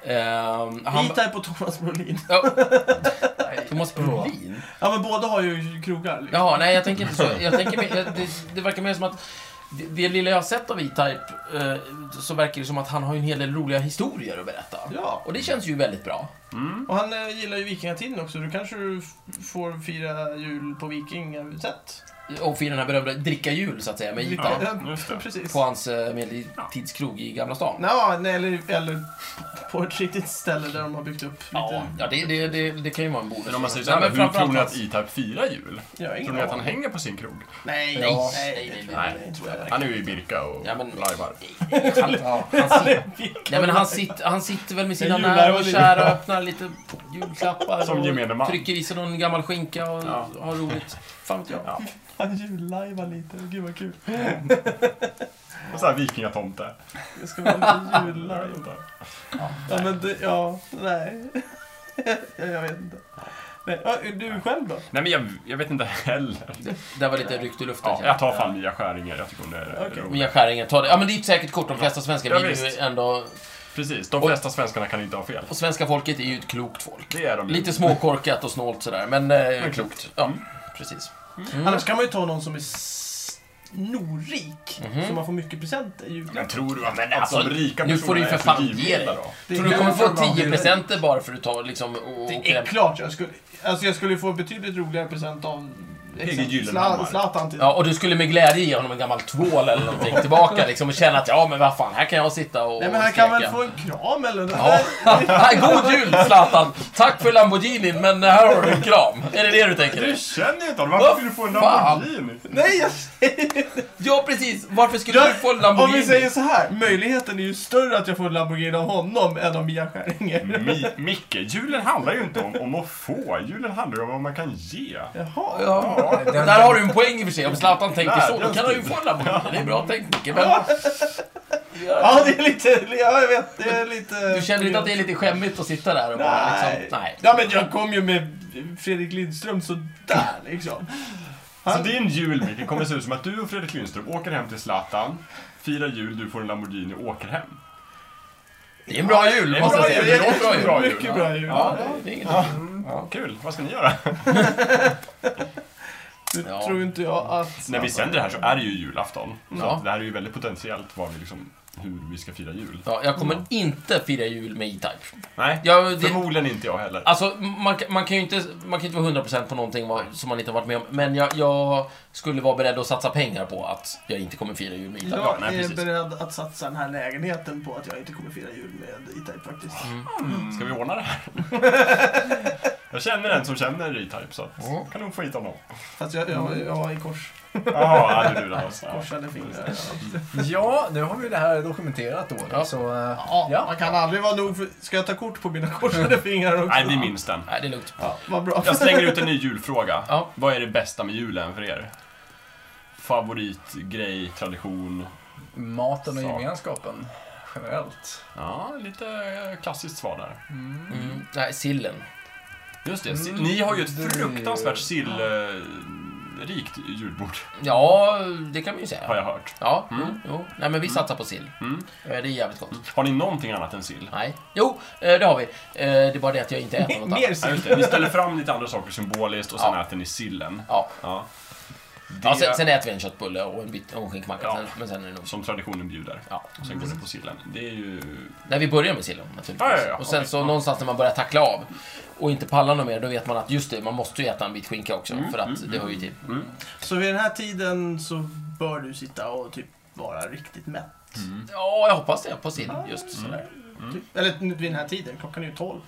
Speaker 2: Ehm, han,
Speaker 1: E-Type och Thomas Brolin.
Speaker 2: Ja, Thomas Brolin?
Speaker 1: Ja, men båda har ju krogar. Liksom.
Speaker 2: Jaha, nej jag tänker inte så. Jag tänker, mer- jag- det, det verkar mer som att det, det lilla jag har sett av E-Type eh, så verkar det som att han har ju en hel del roliga historier att berätta.
Speaker 1: Ja.
Speaker 2: Och det känns ju väldigt bra.
Speaker 4: Mm.
Speaker 1: Och han eh, gillar ju vikingatiden också. Du kanske du f- får fira jul på vikingasätt.
Speaker 2: Och fira den här berömda dricka jul så att säga med E-Type.
Speaker 1: Ja,
Speaker 4: just det.
Speaker 1: Precis.
Speaker 2: På hans eh, medeltidskrog i Gamla stan.
Speaker 1: Ja, nej, eller, eller på ett riktigt ställe där de har byggt upp lite...
Speaker 2: Ja, ja det, det, det, det kan ju vara en bonus.
Speaker 4: Men om man säger så här,
Speaker 2: Nej,
Speaker 4: hur
Speaker 2: men
Speaker 4: tror
Speaker 2: framförallt
Speaker 4: ni att
Speaker 2: hans-
Speaker 4: E-Type firar jul?
Speaker 1: Jag har ingen
Speaker 4: Tror ni att han
Speaker 1: aning.
Speaker 4: hänger på sin krog?
Speaker 1: Nej,
Speaker 2: Nej,
Speaker 1: ja,
Speaker 2: nej,
Speaker 1: nej,
Speaker 2: nej,
Speaker 1: det
Speaker 2: nej,
Speaker 1: tror jag
Speaker 2: tror jag
Speaker 1: inte.
Speaker 4: Han är ju i Birka och
Speaker 2: Ja, men-
Speaker 4: lajvar.
Speaker 2: Han,
Speaker 3: Ja.
Speaker 2: han, sit- nej, men han, sitter, han sitter väl med sina
Speaker 1: En julare
Speaker 2: nära och
Speaker 1: och
Speaker 2: kära och öppnar lite julklappar.
Speaker 4: Som
Speaker 2: och
Speaker 4: gemene man.
Speaker 2: Trycker i sig någon gammal skinka och
Speaker 4: Ja.
Speaker 2: har roligt. Fan vet jag.
Speaker 4: Ja.
Speaker 1: Han jullajvar lite. Gud vad kul.
Speaker 4: Och så här vikingatomte.
Speaker 1: Det ska vara
Speaker 4: Jag
Speaker 1: jullajv.
Speaker 4: vet inte.
Speaker 1: Ja, men det, ja, nej. jag vet inte. Nej. ja, Du själv då?
Speaker 2: Mm.
Speaker 4: Nej, men jag, jag vet inte heller.
Speaker 2: Det där var lite rykt ur luften.
Speaker 4: Ja,
Speaker 2: känner jag.
Speaker 4: jag tar fan Mia Skäringer. Jag tycker hon är
Speaker 1: Okej.
Speaker 4: rolig.
Speaker 2: Mia Skäringer, ta det. Ja men det är ett säkert kort. De flesta svenskar
Speaker 4: Ja,
Speaker 2: blir ju
Speaker 4: visst.
Speaker 2: ändå...
Speaker 4: Precis, de flesta svenskarna kan inte ha fel.
Speaker 2: Och svenska folket är ju ett klokt folk.
Speaker 4: Det är de ju.
Speaker 2: Lite småkorkat och snålt sådär, men... Eh,
Speaker 4: Men
Speaker 2: klokt.
Speaker 4: klokt.
Speaker 2: Ja,
Speaker 4: Mm.
Speaker 2: precis.
Speaker 1: Annars kan man ju ta någon som är snorrik.
Speaker 2: Mhm.
Speaker 1: Så man får mycket presenter i julklapp.
Speaker 4: Men tror du att, men
Speaker 2: alltså,
Speaker 4: att de rika
Speaker 2: nu får du ju
Speaker 4: personerna
Speaker 2: för fan
Speaker 4: är
Speaker 2: ge
Speaker 4: givmilda
Speaker 2: dig.
Speaker 4: då?
Speaker 1: Det
Speaker 2: Tror du kommer
Speaker 1: därför
Speaker 2: få
Speaker 1: man
Speaker 2: 10
Speaker 1: vill-
Speaker 2: presenter bara för att ta liksom... Och, och
Speaker 1: Det är klart jag skulle... Alltså jag skulle få betydligt roligare present av...
Speaker 4: P.G.
Speaker 1: Zla-
Speaker 4: Gyllenhammar.
Speaker 1: Zlatan till.
Speaker 2: Ja, och du skulle med glädje ge honom en gammal tvål eller någonting tillbaka liksom och känna att ja, men vad fan, här kan jag sitta och
Speaker 1: Nej men han
Speaker 2: steka.
Speaker 1: kan väl få en kram eller nåt?
Speaker 2: Ja. Nej, God jul Zlatan! Tack för Lamborghinin, men här har du en kram. Är det det du tänker?
Speaker 4: Du
Speaker 2: dig?
Speaker 4: känner ju inte honom,
Speaker 2: Vad
Speaker 4: varför vill du få en
Speaker 2: fan?
Speaker 4: Lamborghini?
Speaker 1: Nej jag
Speaker 2: Ja, precis. Varför skulle du
Speaker 1: Jag,
Speaker 2: få en
Speaker 1: om
Speaker 2: Lamborghini?
Speaker 1: vi säger så här, möjligheten är ju större att jag får en Lamborghini av honom än av Mia Skäringer.
Speaker 2: Mm.
Speaker 4: Mi, Micke, julen handlar ju inte om, om att få, julen handlar ju om vad man kan ge.
Speaker 1: Jaha.
Speaker 2: Ja.
Speaker 3: Den-
Speaker 2: Där har du en poäng i och för sig. Om Zlatan tänker
Speaker 4: Nej,
Speaker 2: så, då kan han ju få en Lamborghini. Det är bra tänkt, Micke. Men
Speaker 1: Ja, det är lite, ja jag vet, det är lite...
Speaker 2: du känner inte att det är lite skämmigt att sitta där och bara
Speaker 1: Nej.
Speaker 2: liksom... Nej.
Speaker 1: Ja men jag kom ju med Fredrik Lindström sådär liksom.
Speaker 4: Så din jul, Micke, kommer se ut som att du och Fredrik Lindström åker hem till Zlatan, firar jul, du får en Lamborghini och åker hem.
Speaker 2: Det är en bra jul,
Speaker 4: Det är
Speaker 2: måste jag
Speaker 4: bra
Speaker 2: säga.
Speaker 4: jul.
Speaker 2: Det låter bra jul.
Speaker 4: Bra jul.
Speaker 1: Mycket bra jul.
Speaker 2: Ja, det är inget
Speaker 4: Kul, vad ska ni göra?
Speaker 1: Nu
Speaker 2: Ja.
Speaker 1: tror inte jag att...
Speaker 4: När vi sänder det här så är det ju julafton. Så
Speaker 2: Ja.
Speaker 4: att det här är ju väldigt potentiellt vad vi liksom, hur vi ska fira jul.
Speaker 2: Ja, jag kommer inte fira jul med E-Type.
Speaker 4: Nej,
Speaker 2: Jag, det,
Speaker 4: förmodligen inte jag heller.
Speaker 2: alltså, man, kan- man, kan ju inte, man kan ju inte vara 100% på någonting vad- som man inte har varit med om. Men jag, jag skulle vara beredd att satsa pengar på att jag inte kommer fira jul med E-Type.
Speaker 1: Jag
Speaker 4: nej,
Speaker 1: är
Speaker 4: precis.
Speaker 1: beredd att satsa den här lägenheten på att jag inte kommer fira jul med E-Type faktiskt.
Speaker 2: Mm.
Speaker 4: Ska vi ordna det här? jag känner en som känner E-Type så att,
Speaker 2: Ja.
Speaker 4: kan nog få hit honom.
Speaker 1: Fast jag, jag, jag var i kors,
Speaker 4: Jaha, hade du det? Alltså.
Speaker 1: korsade fingrar.
Speaker 3: Ja, nu har vi det här dokumenterat då.
Speaker 2: Ja.
Speaker 3: Så, eh,
Speaker 1: Ja, man kan aldrig vara nog för... Ska jag ta kort på mina korsade fingrar också?
Speaker 4: Nej, vi minns den.
Speaker 2: Nej, det är lugnt.
Speaker 1: Ja, vad bra.
Speaker 4: Jag slänger ut en ny julfråga.
Speaker 2: Ja.
Speaker 4: Vad är det bästa med julen för er? Favoritgrej, tradition,
Speaker 3: maten och
Speaker 4: Så.
Speaker 3: gemenskapen generellt.
Speaker 4: Ja, lite eh, klassiskt svar där.
Speaker 2: Mm. Nej, sillen.
Speaker 4: Just det, si-
Speaker 3: Mm,
Speaker 4: ni har ju ett
Speaker 3: det är-
Speaker 4: fruktansvärt sillrikt julbord,
Speaker 2: Ja, det kan man ju
Speaker 4: har
Speaker 2: säga.
Speaker 4: jag hört.
Speaker 2: Ja,
Speaker 4: Mm.
Speaker 2: jo, jo. Nej, men vi satsar på sill.
Speaker 4: Mm.
Speaker 2: Eh, Det är jävligt gott.
Speaker 4: Har ni någonting annat än sill?
Speaker 2: Nej. Jo, eh, det har vi. Eh, Det är bara det att jag inte äter något
Speaker 1: Mer
Speaker 2: annat.
Speaker 4: Ja,
Speaker 1: sill.
Speaker 4: just det. Ni ställer fram lite andra saker symboliskt och sen
Speaker 2: Ja.
Speaker 4: äter ni sillen.
Speaker 2: Ja.
Speaker 4: Ja. Det
Speaker 2: Ja, sen, sen äter vi en köttbulle och en, bit, och en skinkmacka,
Speaker 4: Ja.
Speaker 2: sen, men sen är det nog så.
Speaker 4: som traditionen bjuder.
Speaker 2: Ja.
Speaker 4: Och sen går ni på sillen. Det är ju...
Speaker 2: Nej, vi börjar med sillen naturligtvis.
Speaker 4: Ja, ja, ja.
Speaker 2: Och sen
Speaker 4: Okej.
Speaker 2: så
Speaker 4: Ja.
Speaker 2: någonstans när man börjar tackla av och inte pallar något mer, då vet man att just det, man måste ju äta en bit skinka också, för att det hör ju till.
Speaker 1: Så vid den här tiden så bör du sitta och typ vara riktigt mätt.
Speaker 2: Ja, jag hoppas det, på sill just
Speaker 4: Mm.
Speaker 2: sådär.
Speaker 1: Typ. Eller nu vid den här tiden, klockan är ju 12.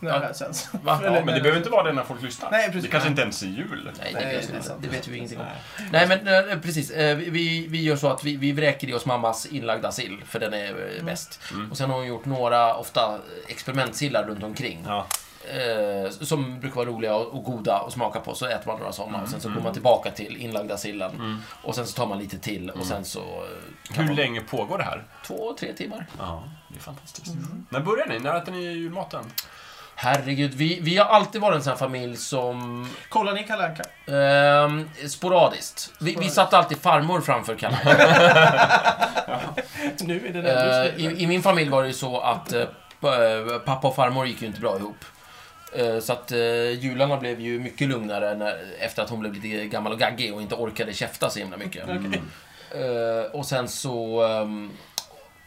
Speaker 1: När
Speaker 2: Mm. Ja.
Speaker 1: det här sänds.
Speaker 2: Va?
Speaker 4: Ja, men det behöver inte vara det när folk lyssnar.
Speaker 1: Nej, precis.
Speaker 4: Det kanske inte ens är jul.
Speaker 2: Nej, det,
Speaker 1: Nej,
Speaker 2: vet,
Speaker 1: det är
Speaker 2: vi,
Speaker 1: sant.
Speaker 2: det vet vi ingenting om.
Speaker 4: Nej.
Speaker 2: Nej, men eh, precis. Eh, vi- Vi, vi gör så att vi, vi vräker i oss mammas inlagda sill, för den är eh, bäst.
Speaker 4: Mm.
Speaker 2: Och sen har hon gjort några, ofta experimentsillar runt omkring.
Speaker 4: Ja.
Speaker 2: eh, som brukar vara roliga och, och goda att smaka på. Så äter man några sådana och sen så går man tillbaka till inlagda sillen. Och sen så tar man lite till och sen så... eh, Kan
Speaker 4: Hur
Speaker 2: man,
Speaker 4: länge pågår det här?
Speaker 2: Två, tre timmar.
Speaker 4: Ja, det är fantastiskt. När börjar ni? När äter ni julmaten?
Speaker 2: Herregud, vi, vi har alltid varit en sån här familj som...
Speaker 1: Kollar ni Kalle Anka?
Speaker 2: ehm, sporadiskt. Vi, vi
Speaker 1: Sporadiskt.
Speaker 2: satte alltid farmor framför kalan.
Speaker 1: Nu är det Mm.
Speaker 2: Eh,
Speaker 1: den
Speaker 2: i, I min familj var det ju så att eh, p- eh, pappa och farmor gick ju inte bra ihop. Eh, Så att eh, jularna blev ju mycket lugnare när, efter att hon blev lite gammal och gaggig och inte orkade käfta så himla mycket.
Speaker 4: Mm.
Speaker 1: Okej.
Speaker 2: Eh, och sen så... ehm,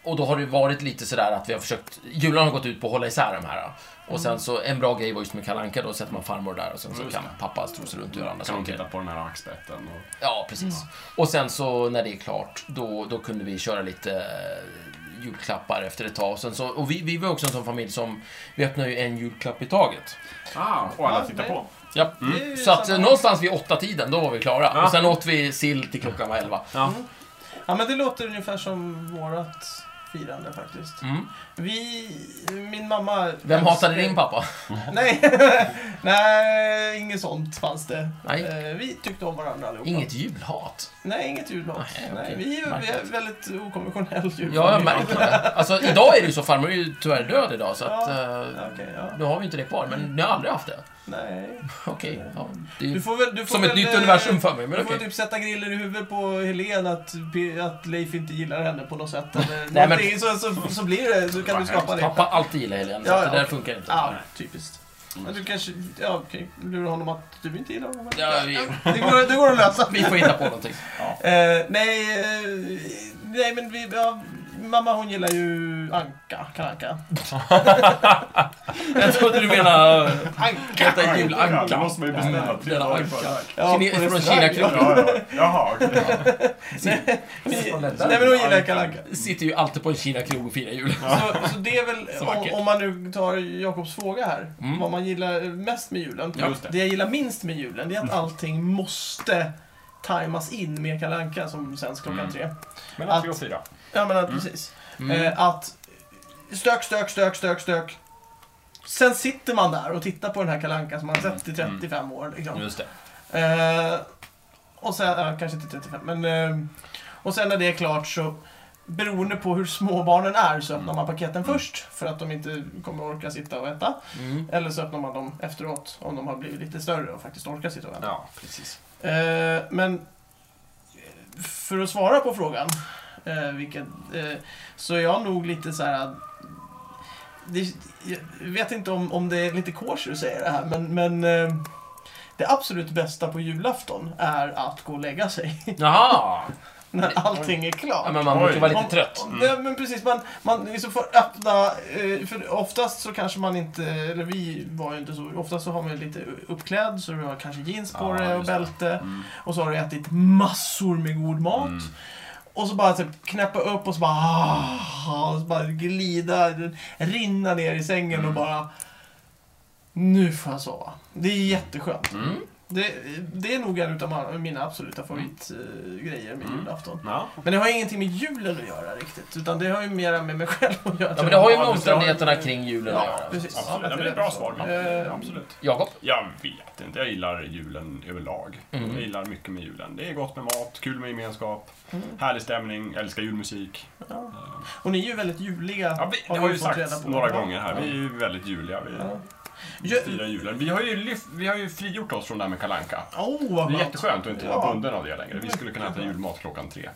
Speaker 2: och då har det varit lite sådär att vi har försökt... Julen har gått ut på att hålla isär de här. Och sen så, en bra grej var just med Kalle Anka, då sätter man farmor där och sen så
Speaker 4: Just
Speaker 2: kan
Speaker 4: det.
Speaker 2: pappa strosa runt och göra andra
Speaker 4: Kan man typ
Speaker 2: saker.
Speaker 4: titta på den här axbetten? Och...
Speaker 2: Ja, precis.
Speaker 1: Mm.
Speaker 2: Och sen så när det är klart, då, då kunde vi köra lite eh, julklappar efter ett tag. Och, sen så, och vi, vi var också en sån familj som, vi öppnar ju en julklapp i taget.
Speaker 4: Ah, och alla
Speaker 1: Ja,
Speaker 4: tittar
Speaker 1: det-
Speaker 4: på.
Speaker 2: Ja.
Speaker 1: Det är ju
Speaker 2: Så att eh,
Speaker 1: samma-
Speaker 2: någonstans vid åtta tiden då var vi klara.
Speaker 4: Ja.
Speaker 2: Och sen åt vi sill till klockan var elva.
Speaker 4: Ja.
Speaker 1: Ja, men det låter ungefär som vårat firande faktiskt.
Speaker 2: Mm.
Speaker 1: Vi, min mamma...
Speaker 2: Vem hatade din pappa?
Speaker 1: Nej, nej, inget sånt fanns det.
Speaker 2: Nej.
Speaker 1: Eh, Vi tyckte om varandra allihopa.
Speaker 2: Inget julhat.
Speaker 1: Nej, inget julmat.
Speaker 2: Nej,
Speaker 1: Nej,
Speaker 2: okej.
Speaker 1: vi, är, vi är
Speaker 2: Märkligt.
Speaker 1: väldigt okonventionell julmat.
Speaker 2: Ja, jag märker det. Alltså idag är det ju så, farmor är ju tyvärr död idag så att...
Speaker 1: Ja,
Speaker 2: Eh,
Speaker 1: okej, ja.
Speaker 2: nu har vi inte det kvar, men ni har aldrig haft det.
Speaker 1: Nej.
Speaker 2: Okej, ja. Det är
Speaker 1: Du
Speaker 2: ju
Speaker 1: får väl, du får
Speaker 2: Mm. som
Speaker 1: väl,
Speaker 2: ett nytt
Speaker 1: eh,
Speaker 2: universum för mig, men
Speaker 1: Du får
Speaker 2: okej.
Speaker 1: typ sätta griller i huvudet på Helen att, att Leif inte gillar henne på något sätt. Eller
Speaker 2: men-
Speaker 1: någonting, så, så, så blir det, så kan du skapa det.
Speaker 2: Pappa alltid gillar Helene, så
Speaker 1: Ja,
Speaker 2: att
Speaker 1: ja,
Speaker 2: det där
Speaker 1: okej.
Speaker 2: funkar inte.
Speaker 1: Ja, typiskt. Men du kanske, ja okej, lura honom att du inte gillar honom.
Speaker 2: Ja, vi,
Speaker 1: Det går, det går att lösa.
Speaker 2: vi får hitta på någonting.
Speaker 1: Eh, nej, eh, nej men vi, ja, mamma hon gillar ju Anka, Kalanka.
Speaker 2: Jag trodde du eh, menade
Speaker 1: Anka!
Speaker 2: detta julanka.
Speaker 4: Då måste man ju beställa till.
Speaker 2: Denna anka.
Speaker 1: Ja,
Speaker 2: Kine-
Speaker 1: på
Speaker 2: från
Speaker 1: restaurang,
Speaker 2: Kinaklubben.
Speaker 1: ja.
Speaker 4: Ja, ja. Jaha, okej.
Speaker 1: Vi- Nej men hon gillar Kalanka.
Speaker 2: Sitter ju alltid på en Kina-krog och firar jul.
Speaker 1: Så, så det är väl,
Speaker 2: Så
Speaker 1: om,
Speaker 2: vackert.
Speaker 1: om man nu tar Jakobs fråga här,
Speaker 2: Mm.
Speaker 1: vad man gillar mest med julen.
Speaker 4: Ja, just det. Mm.
Speaker 1: det jag gillar minst med julen, det är att allting måste tajmas in med Kalanka som sänds klockan
Speaker 4: Mm.
Speaker 1: tre.
Speaker 4: Mellan tre och fyra.
Speaker 1: Ja men att, precis.
Speaker 2: Mm.
Speaker 1: Eh, att stök, stök, stök, stök, stök. Sen sitter man där och tittar på den här kalankan som man har sett i
Speaker 4: Mm.
Speaker 1: 35 år. Liksom.
Speaker 4: Just det.
Speaker 1: Eh, och sen, ja, kanske inte 35, men... Eh, och sen när det är klart så, beroende på hur små barnen är, så öppnar man paketen först. För att de inte kommer orka sitta och äta.
Speaker 2: Mm.
Speaker 1: Eller så öppnar man dem efteråt, om de har blivit lite större och faktiskt orkar sitta och äta.
Speaker 4: Ja, precis.
Speaker 1: Eh, men för att svara på frågan, eh, vilket, eh, så är jag nog lite så här... Det, jag vet inte om, om det är lite kosher att säga det här, men, men eh, det absolut bästa på julafton är att gå och lägga sig
Speaker 2: Jaha!
Speaker 1: när allting är klart.
Speaker 2: Ja, men man brukar
Speaker 4: Oj.
Speaker 2: vara lite
Speaker 1: Om-
Speaker 2: trött.
Speaker 1: om- Nej, men precis. Man, man liksom får öppna... eh, För oftast så kanske man inte... Eller vi var ju inte så... Oftast så har man ju lite uppklädd, så du har kanske jeans på
Speaker 4: Ja,
Speaker 1: dig och
Speaker 4: just det.
Speaker 1: bälte. Och så har du ätit massor med god mat. Och så bara typ knäppa upp och så bara... ah, Och så bara glida, rinna ner i sängen och bara... Nu får jag sova. Det är jätteskönt.
Speaker 2: Mm.
Speaker 1: det, det är nog en utav mina absoluta favoritgrejer med
Speaker 4: Mm.
Speaker 1: julafton.
Speaker 4: Ja.
Speaker 1: Men det har ingenting med julen att göra riktigt, utan det har ju mera med mig själv att göra.
Speaker 2: Ja, men det har ju med
Speaker 4: Ja,
Speaker 2: omständigheterna
Speaker 4: det har-
Speaker 2: kring julen att
Speaker 1: Ja,
Speaker 2: göra.
Speaker 1: precis.
Speaker 4: Absolut.
Speaker 1: Ja, men
Speaker 4: Ja, men det
Speaker 1: det
Speaker 4: är ett bra svar.
Speaker 1: Eh,
Speaker 4: Ja, Absolut.
Speaker 2: Jakob?
Speaker 4: Jag vet inte. Jag gillar julen överlag.
Speaker 2: Mm.
Speaker 4: Jag gillar mycket med julen. Det är gott med mat, kul med gemenskap,
Speaker 1: Mm.
Speaker 4: härlig stämning, jag älskar julmusik.
Speaker 1: Ja. Och ni är ju väldigt juliga.
Speaker 4: Ja, vi,
Speaker 1: har
Speaker 4: det har
Speaker 1: vi
Speaker 4: ju
Speaker 1: fått reda
Speaker 4: sagts
Speaker 1: på.
Speaker 4: några
Speaker 1: Ja.
Speaker 4: gånger här. Vi är
Speaker 1: Ja.
Speaker 4: ju väldigt juliga. Vi
Speaker 1: Ja.
Speaker 4: styrar julen. Vi har, ju lyft, vi har ju frigjort oss från det här med kalanka.
Speaker 1: Åh, oh,
Speaker 4: Det
Speaker 1: vad
Speaker 4: är
Speaker 1: skönt.
Speaker 4: jätteskönt att inte vara
Speaker 1: Ja.
Speaker 4: bunden av det längre. Vi skulle kunna äta julmat klockan tre.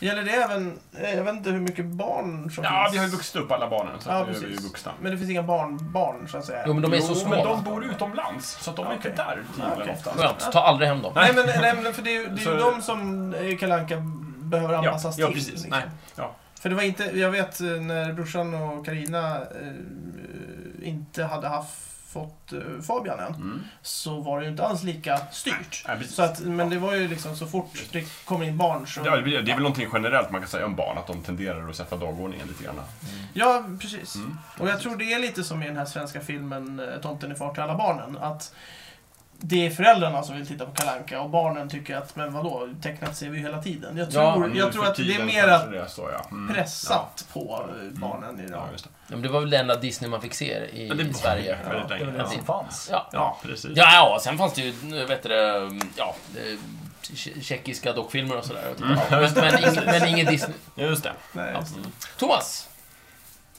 Speaker 1: Gäller det även, eh, jag vet inte hur mycket barn som
Speaker 4: Ja,
Speaker 1: finns?
Speaker 4: vi har ju vuxit upp alla barnen, så
Speaker 1: Ja,
Speaker 4: att nu är vi ju
Speaker 1: precis.
Speaker 4: vuxna.
Speaker 1: Men det finns inga barnbarn barn, så att säga?
Speaker 2: Jo, men de är så
Speaker 4: Jo, men de
Speaker 2: små.
Speaker 4: bor utomlands, så att de är
Speaker 1: Okej.
Speaker 4: inte där till
Speaker 1: Ja,
Speaker 4: julen
Speaker 1: okej.
Speaker 4: oftast.
Speaker 2: Skönt, ta aldrig hem dem.
Speaker 1: Nej, men, nej, men för det är ju, det är ju
Speaker 4: Så-
Speaker 1: de som eh, Kalle Anka behöver anpassas
Speaker 4: ja,
Speaker 1: till.
Speaker 4: precis.
Speaker 1: liksom.
Speaker 4: Nej, ja.
Speaker 1: För det var inte, jag vet eh, när brorsan och Karina eh, inte hade haft, fått eh, Fabian än,
Speaker 4: Mm.
Speaker 1: så var det ju inte alls lika styrt.
Speaker 4: Nej, precis.
Speaker 1: Så att, men det var ju liksom så fort det kommer in barn så...
Speaker 4: Ja, det blir- det är väl någonting generellt man kan säga om barn, att de tenderar att sätta dagordningen lite grann.
Speaker 1: Mm. Ja, precis.
Speaker 4: Mm.
Speaker 1: Och jag tror det är lite som i den här svenska filmen eh, Tomten är far till alla barnen. Att det är föräldrarna som vill titta på Kalanka och barnen tycker att, men vadå, tecknat ser vi ju hela tiden. Jag tror,
Speaker 2: Ja,
Speaker 1: jag tror att det är mer
Speaker 4: att
Speaker 1: att
Speaker 4: det är så, ja. Mm.
Speaker 1: pressat på eh, barnen
Speaker 4: Ja.
Speaker 1: idag.
Speaker 4: Ja, just det.
Speaker 2: Ja, men det var väl det enda Disney man fick se i, i Sverige.
Speaker 4: Ja, väldigt
Speaker 3: Det var
Speaker 4: länge.
Speaker 3: den
Speaker 4: Ja.
Speaker 3: som fanns.
Speaker 2: Ja.
Speaker 4: ja, precis.
Speaker 2: Ja, ja, sen fanns det ju, vet du, det, ja, det, tje- tjeckiska dockfilmer och sådär. Men, men, ing, men ingen Disney.
Speaker 4: Just det.
Speaker 1: Nej,
Speaker 2: Ja.
Speaker 1: just det.
Speaker 2: Thomas,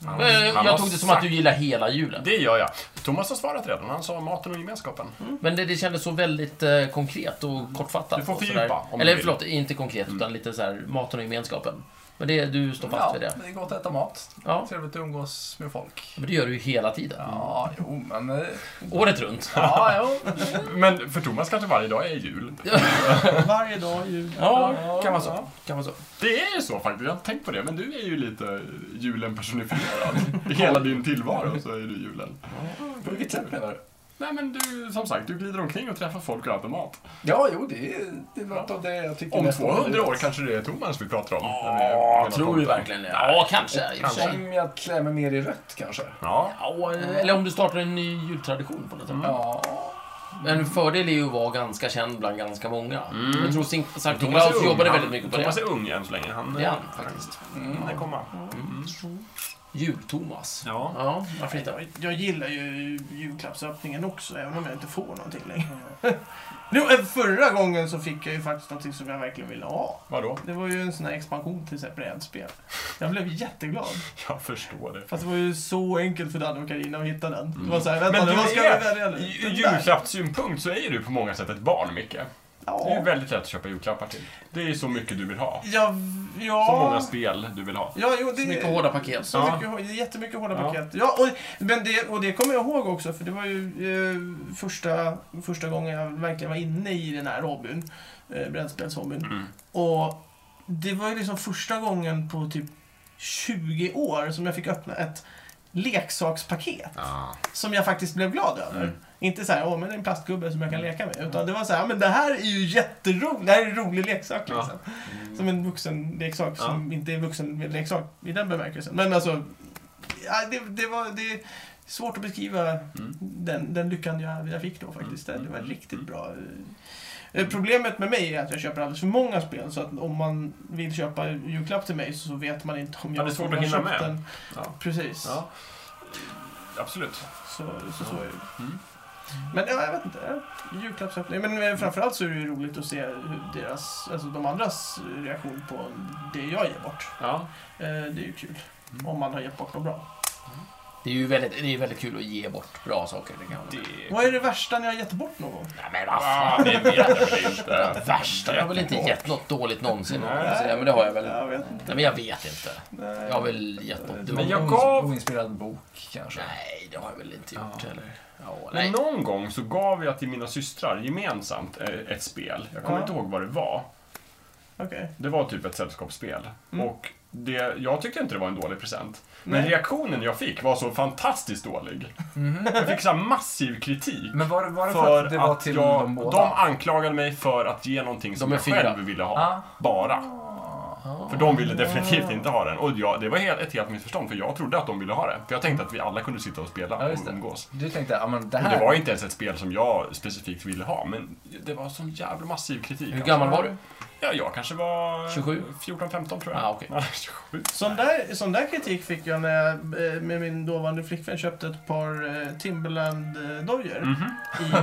Speaker 4: Han-
Speaker 2: eh,
Speaker 4: han
Speaker 2: jag
Speaker 4: har
Speaker 2: tog det som
Speaker 4: sagt-
Speaker 2: att du gillar hela julen.
Speaker 4: Det gör jag. Thomas har svarat redan. Han sa maten och gemenskapen.
Speaker 2: Men det, det kändes så väldigt eh, konkret och kortfattat.
Speaker 4: Mm. Du får
Speaker 2: och sådär.
Speaker 4: fördjupa, om du
Speaker 2: Eller
Speaker 4: vill. Mm.
Speaker 2: förlåt, inte konkret, utan lite så här maten och gemenskapen. Men det, du står fast vid det?
Speaker 3: det är gott att äta mat.
Speaker 2: Ja.
Speaker 3: Trevligt att umgås med folk.
Speaker 2: Men
Speaker 4: Mm.
Speaker 2: det gör du ju hela tiden.
Speaker 3: Ja, jo, men... eh,
Speaker 2: Året runt.
Speaker 3: Ja, jo.
Speaker 1: Mm.
Speaker 4: Men för Thomas kanske varje dag är jul.
Speaker 1: Varje dag jul.
Speaker 2: Ja, kan vara så. Kan vara så.
Speaker 4: Det är ju så faktiskt. Jag har inte tänkt på det. Men du är ju lite julen personifierad. I hela din tillvaro så är du julen.
Speaker 3: På vilket sätt menar du?
Speaker 4: Nej men du, som sagt, du glider omkring och träffar folk och äter mat.
Speaker 3: Ja, jo, det är, det är något av det jag tycker
Speaker 4: Om
Speaker 3: mest
Speaker 4: 200
Speaker 3: livet.
Speaker 4: år kanske det är Thomas vi pratar om.
Speaker 2: Ja, tror vi verkligen det? Ja, kanske. I och för sig.
Speaker 3: Om jag klär mig mer i rött kanske.
Speaker 4: Ja. eh. Mm.
Speaker 2: Ja, eller om du startar en ny jultradition på något sätt.
Speaker 3: Ja,
Speaker 2: En fördel är ju att vara ganska känd bland ganska många. Jag tror Sink- Sankt
Speaker 4: Mm. Thomas är
Speaker 2: Olaus
Speaker 4: ung.
Speaker 2: jobbade
Speaker 4: Han-
Speaker 2: väldigt mycket på
Speaker 4: Thomas
Speaker 2: det.
Speaker 4: är ung än så länge. Han,
Speaker 2: Det är han faktiskt.
Speaker 4: Han är komma. Mm.
Speaker 2: Jul-Thomas.
Speaker 4: Ja.
Speaker 2: Ja, varför inte?
Speaker 1: Jag, jag gillar ju julklappsöppningen också, även om jag inte får någonting längre. Jo, eh, Förra gången så fick jag ju faktiskt någonting som jag verkligen ville ha.
Speaker 4: Vadå?
Speaker 1: Det var ju en sån här expansion till så här brädspel. Jag blev jätteglad.
Speaker 4: Jag förstår det.
Speaker 1: Fast det var ju så enkelt för Danne och Carina att hitta den.
Speaker 2: Mm.
Speaker 1: Det var såhär, vänta
Speaker 4: Men
Speaker 1: nu, vad
Speaker 4: du
Speaker 1: ska vi välja
Speaker 4: är,
Speaker 1: nu?
Speaker 4: ur
Speaker 1: Den där.
Speaker 4: julklappssynpunkt så är du på många sätt ett barn, Micke. Det är ju
Speaker 1: Ja,
Speaker 4: väldigt lätt att köpa julklappar till. Det är ju så mycket du vill ha.
Speaker 1: ja, ja.
Speaker 4: Så många spel du vill ha.
Speaker 1: Ja, jo, det
Speaker 2: Så mycket hårda paket.
Speaker 1: Så
Speaker 4: Ja.
Speaker 1: mycket, hår- det är jättemycket hårda
Speaker 4: Ja.
Speaker 1: paket. Ja, och, men det, och det kommer jag ihåg också, för det var ju eh, första, första gången jag verkligen var inne i den här hobbyn. Eh, Brädspelshobbyn.
Speaker 4: Mm.
Speaker 1: Och det var ju liksom första gången på typ 20 år som jag fick öppna ett leksakspaket. Som jag faktiskt blev glad över.
Speaker 4: Mm.
Speaker 1: Inte så här, åh men det är en plastgubbe som jag kan leka med. Utan det var så här, men det här är ju jätteroligt. Det här är en rolig leksak
Speaker 4: Ja. Mm.
Speaker 1: liksom. Som en vuxen leksak
Speaker 4: Ja.
Speaker 1: som inte är vuxen leksak i den bemärkelsen. Men alltså, ja, det, det, var, det är svårt att beskriva
Speaker 4: Mm.
Speaker 1: den, den lyckan jag, jag fick då faktiskt. Det var riktigt bra. Eh, Problemet med mig är att jag köper alldeles för många spel så att om man vill köpa julklapp till mig så vet man inte om jag
Speaker 4: Ja, det är svårt
Speaker 1: kommer
Speaker 4: att hinna
Speaker 1: köpt
Speaker 4: med.
Speaker 1: den.
Speaker 4: Ja.
Speaker 1: Precis.
Speaker 4: Ja. Absolut.
Speaker 1: Så, så, så är det.
Speaker 4: Mm.
Speaker 1: Men ja, jag vet inte. Julklappsöppning. Men eh, framförallt så är det ju roligt att se hur deras, alltså de andras reaktion på det jag ger bort.
Speaker 4: Ja.
Speaker 1: Eh, Det är ju kul.
Speaker 2: Mm.
Speaker 1: Om man har gett bort något bra.
Speaker 2: Det är ju väldigt, det är ju väldigt kul att ge bort bra saker. Det kan man.
Speaker 4: Det...
Speaker 1: Vad är det värsta ni har gett bort någon gång?
Speaker 2: Nej, men vad fan.
Speaker 4: Ah, det vet jag väl inte.
Speaker 2: Värsta? Jag har väl inte gett något dåligt någonsin. om jag säger, Men det har jag väl.
Speaker 1: Jag vet inte.
Speaker 2: Nej, men jag vet inte.
Speaker 1: Nej.
Speaker 2: Jag har väl gett något
Speaker 4: Men
Speaker 2: dumt.
Speaker 4: jag gav-
Speaker 3: Oinspirerad bok kanske.
Speaker 2: Nej, det har jag väl inte gjort
Speaker 4: Ja.
Speaker 2: heller. Ja,
Speaker 4: Men
Speaker 2: nej.
Speaker 4: någon gång så gav jag till mina systrar gemensamt eh, ett spel. Jag kommer
Speaker 1: Ja.
Speaker 4: inte ihåg vad det var.
Speaker 1: Okej.
Speaker 4: Det var typ ett sällskapsspel.
Speaker 1: Mm.
Speaker 4: Och det, jag tyckte inte det var en dålig present. Men
Speaker 1: Nej.
Speaker 4: reaktionen jag fick var så fantastiskt dålig. Jag fick så här massiv kritik.
Speaker 3: Men var det, var det för,
Speaker 4: För
Speaker 3: att det var
Speaker 4: att
Speaker 3: till
Speaker 4: jag,
Speaker 3: dem båda?
Speaker 4: de anklagade mig för att ge någonting som
Speaker 2: De är
Speaker 4: jag
Speaker 2: fyra.
Speaker 4: själv ville ha.
Speaker 3: Ah.
Speaker 4: Bara.
Speaker 2: Ah.
Speaker 4: För de ville definitivt inte ha den. Och jag, det var helt, ett helt missförstånd, för jag trodde att de ville ha det. För jag tänkte att vi alla kunde sitta och spela
Speaker 5: Ja, just
Speaker 4: och
Speaker 5: det.
Speaker 4: umgås.
Speaker 5: Du tänkte, ja men det
Speaker 4: Och
Speaker 5: här...
Speaker 4: det var inte ens ett spel som jag specifikt ville ha, men det var sån jävla massiv kritik.
Speaker 2: Hur gammal var du?
Speaker 4: Ja, jag kanske var...
Speaker 2: 27?
Speaker 4: 14-15 tror jag.
Speaker 2: Ah, okej.
Speaker 4: Ja, 27.
Speaker 1: Sån där, sån där kritik fick jag när jag eh, med min dåvarande flickvän köpte ett par eh, Timberland-dojor.
Speaker 4: Mhm.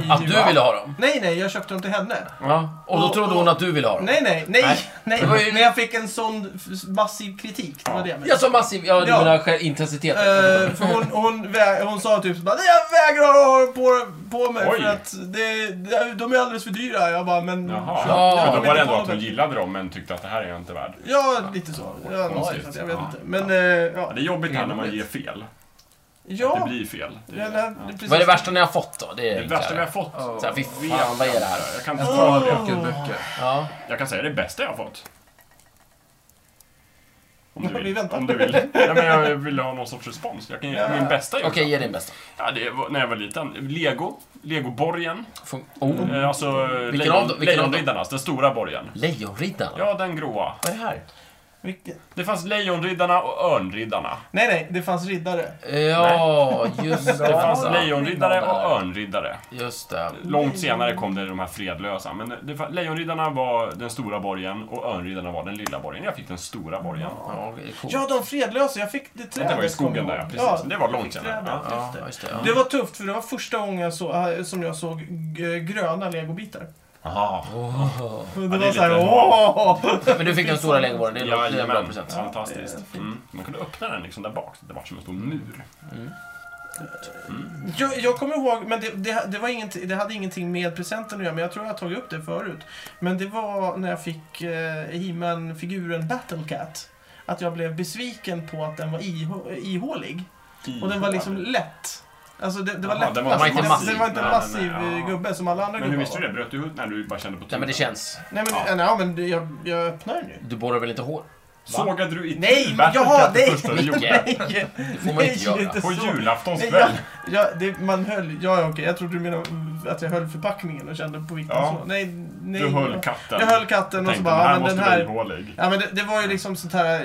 Speaker 1: i- i
Speaker 2: Att du
Speaker 1: Dubai.
Speaker 2: ville ha dem?
Speaker 1: Nej, nej, jag köpte dem till henne.
Speaker 2: Ja. Och då
Speaker 1: Och-
Speaker 2: trodde hon att du ville ha dem?
Speaker 1: Nej, nej, nej,
Speaker 2: Nej.
Speaker 1: nej.
Speaker 2: Det var ju-
Speaker 1: Men jag fick en sån f- massiv kritik, det var det jag menade.
Speaker 2: Ja, så massiv... Ja, du
Speaker 1: Ja.
Speaker 2: menar själv- intensiteten?
Speaker 1: Eh, för hon, hon, vä- hon sa typ bara, "Nej, jag vägrar ha dem på, på mig
Speaker 4: Oj.
Speaker 1: för att det, det, de är alldeles för dyra. Jag bara, men...
Speaker 4: Jaha.
Speaker 2: Ja.
Speaker 4: Men
Speaker 1: jag
Speaker 4: då var
Speaker 1: vill
Speaker 4: det
Speaker 1: inte
Speaker 4: ändå
Speaker 1: ha
Speaker 4: att
Speaker 1: dem."
Speaker 4: hon gillade dem, men tyckte att det här är jag inte värd.
Speaker 1: Ja, lite så. Ja,
Speaker 4: Konstigt.
Speaker 1: någonstans, jag vet
Speaker 4: Ja.
Speaker 1: inte. Men, eh, ja.
Speaker 4: Ja, det är jobbigt här när man ger
Speaker 2: Egendomligt.
Speaker 4: fel. Det
Speaker 1: Ja,
Speaker 4: blir fel. Det,
Speaker 1: ja,
Speaker 4: är-
Speaker 1: det-
Speaker 4: ja.
Speaker 1: precis.
Speaker 2: Vad är det värsta ni har fått då? Det är
Speaker 4: det värsta vi har fått.
Speaker 3: Ja.
Speaker 2: Så här, fy fan, vad är det här?
Speaker 4: Jag kan,
Speaker 3: En trad
Speaker 1: Åh.
Speaker 3: ökenböcker.
Speaker 2: Ja.
Speaker 4: jag kan säga det bästa jag har fått. Om du
Speaker 1: Vi
Speaker 4: vill.
Speaker 1: väntar.
Speaker 4: Om du vill. Nej, men jag vill ha någon sorts respons. Jag kan ge
Speaker 1: Ja.
Speaker 4: min bästa
Speaker 2: Okej,
Speaker 4: julklapp.
Speaker 2: ge din bästa.
Speaker 4: Ja, det var när jag var liten. Lego. Legoborgen.
Speaker 2: Fun- Oh.
Speaker 4: Eh, Alltså eh,
Speaker 2: Vilken av dem? Vilken av
Speaker 4: Lejon-
Speaker 2: dem?
Speaker 4: Lejonriddarnas, den stora borgen.
Speaker 2: Lejonriddaren?
Speaker 4: Ja, den gråa.
Speaker 2: Vad är det här?
Speaker 1: Vilket-
Speaker 4: Det fanns Lejonriddarna och Örnriddarna.
Speaker 1: Nej, nej, det fanns riddare.
Speaker 2: Ja, just det.
Speaker 4: Det fanns
Speaker 2: Ja.
Speaker 4: Lejonriddare och Örnriddare.
Speaker 2: Just det.
Speaker 4: Långt senare kom det de här fredlösa. Men det, fa- Lejonriddarna var den stora borgen och Örnriddarna var den lilla borgen. Jag fick den stora borgen.
Speaker 2: Ja, det är coolt.
Speaker 1: Ja, de fredlösa. Jag fick det
Speaker 4: Det
Speaker 1: trädet.
Speaker 4: var i skogen
Speaker 1: kommer
Speaker 4: där,
Speaker 1: jag
Speaker 4: ja,
Speaker 1: ihåg.
Speaker 4: precis. det var långt senare.
Speaker 1: trädet.
Speaker 4: Ja.
Speaker 2: Ja, just det. Ja.
Speaker 1: Det var tufft, för det var första gången jag så, eh, som jag såg g- eh, gröna legobitar.
Speaker 4: Aha.
Speaker 2: Åh.
Speaker 1: Det
Speaker 4: det är
Speaker 1: var såhär,
Speaker 4: lite-
Speaker 1: åh!
Speaker 2: Men du fick den stora legoborren, det är en- det är en bra
Speaker 4: Jajamän,
Speaker 2: present.
Speaker 4: fantastiskt. Mm. Man kunde öppna den liksom där bak, det var som en stor mur.
Speaker 1: Jag, jag kommer ihåg, men det, det, det, var inget, det hade ingenting med presenten att göra, men jag tror jag har tagit upp det förut. Men det var när jag fick eh, He-Man-figuren Battlecat. Att jag blev besviken på att den var ih- ihålig. Och den var liksom lätt. Alltså det, det var
Speaker 4: Jaha,
Speaker 1: lätt.
Speaker 4: den
Speaker 2: var inte
Speaker 1: den,
Speaker 2: massiv.
Speaker 1: den var inte en
Speaker 4: Nej, nej,
Speaker 1: massiv
Speaker 4: nej,
Speaker 1: eh,
Speaker 4: ja.
Speaker 1: gubbe som alla andra
Speaker 4: Men hur
Speaker 1: gubbar
Speaker 4: visste du
Speaker 1: var.
Speaker 4: det? Bröt du ut när du bara kände på
Speaker 2: Nej, men det känns.
Speaker 1: Nej men,
Speaker 4: Ja.
Speaker 1: ja. men det- jag, jag öppnar den ju.
Speaker 2: Du borrar väl inte hår?
Speaker 4: Sågade du i
Speaker 1: Nej,
Speaker 4: till
Speaker 1: men jaha,
Speaker 4: det
Speaker 1: nej,
Speaker 4: första du gjorde?
Speaker 2: nej.
Speaker 1: Nej,
Speaker 2: Det får man inte göra.
Speaker 1: inte
Speaker 4: På
Speaker 1: så. Nej,
Speaker 4: julaftonskväll?
Speaker 1: jag, jag, det, man höll, ja ja, okej, jag trodde du menade mm, att jag höll förpackningen och kände på vikten
Speaker 4: Ja.
Speaker 1: så. Nej, nej.
Speaker 4: Du höll katten.
Speaker 1: Jag höll katten och så
Speaker 4: Tänkte,
Speaker 1: bara, ja, men
Speaker 4: måste
Speaker 1: den
Speaker 4: vara
Speaker 1: här...
Speaker 4: ihålig.
Speaker 1: Ja men det, det var ju liksom sånt här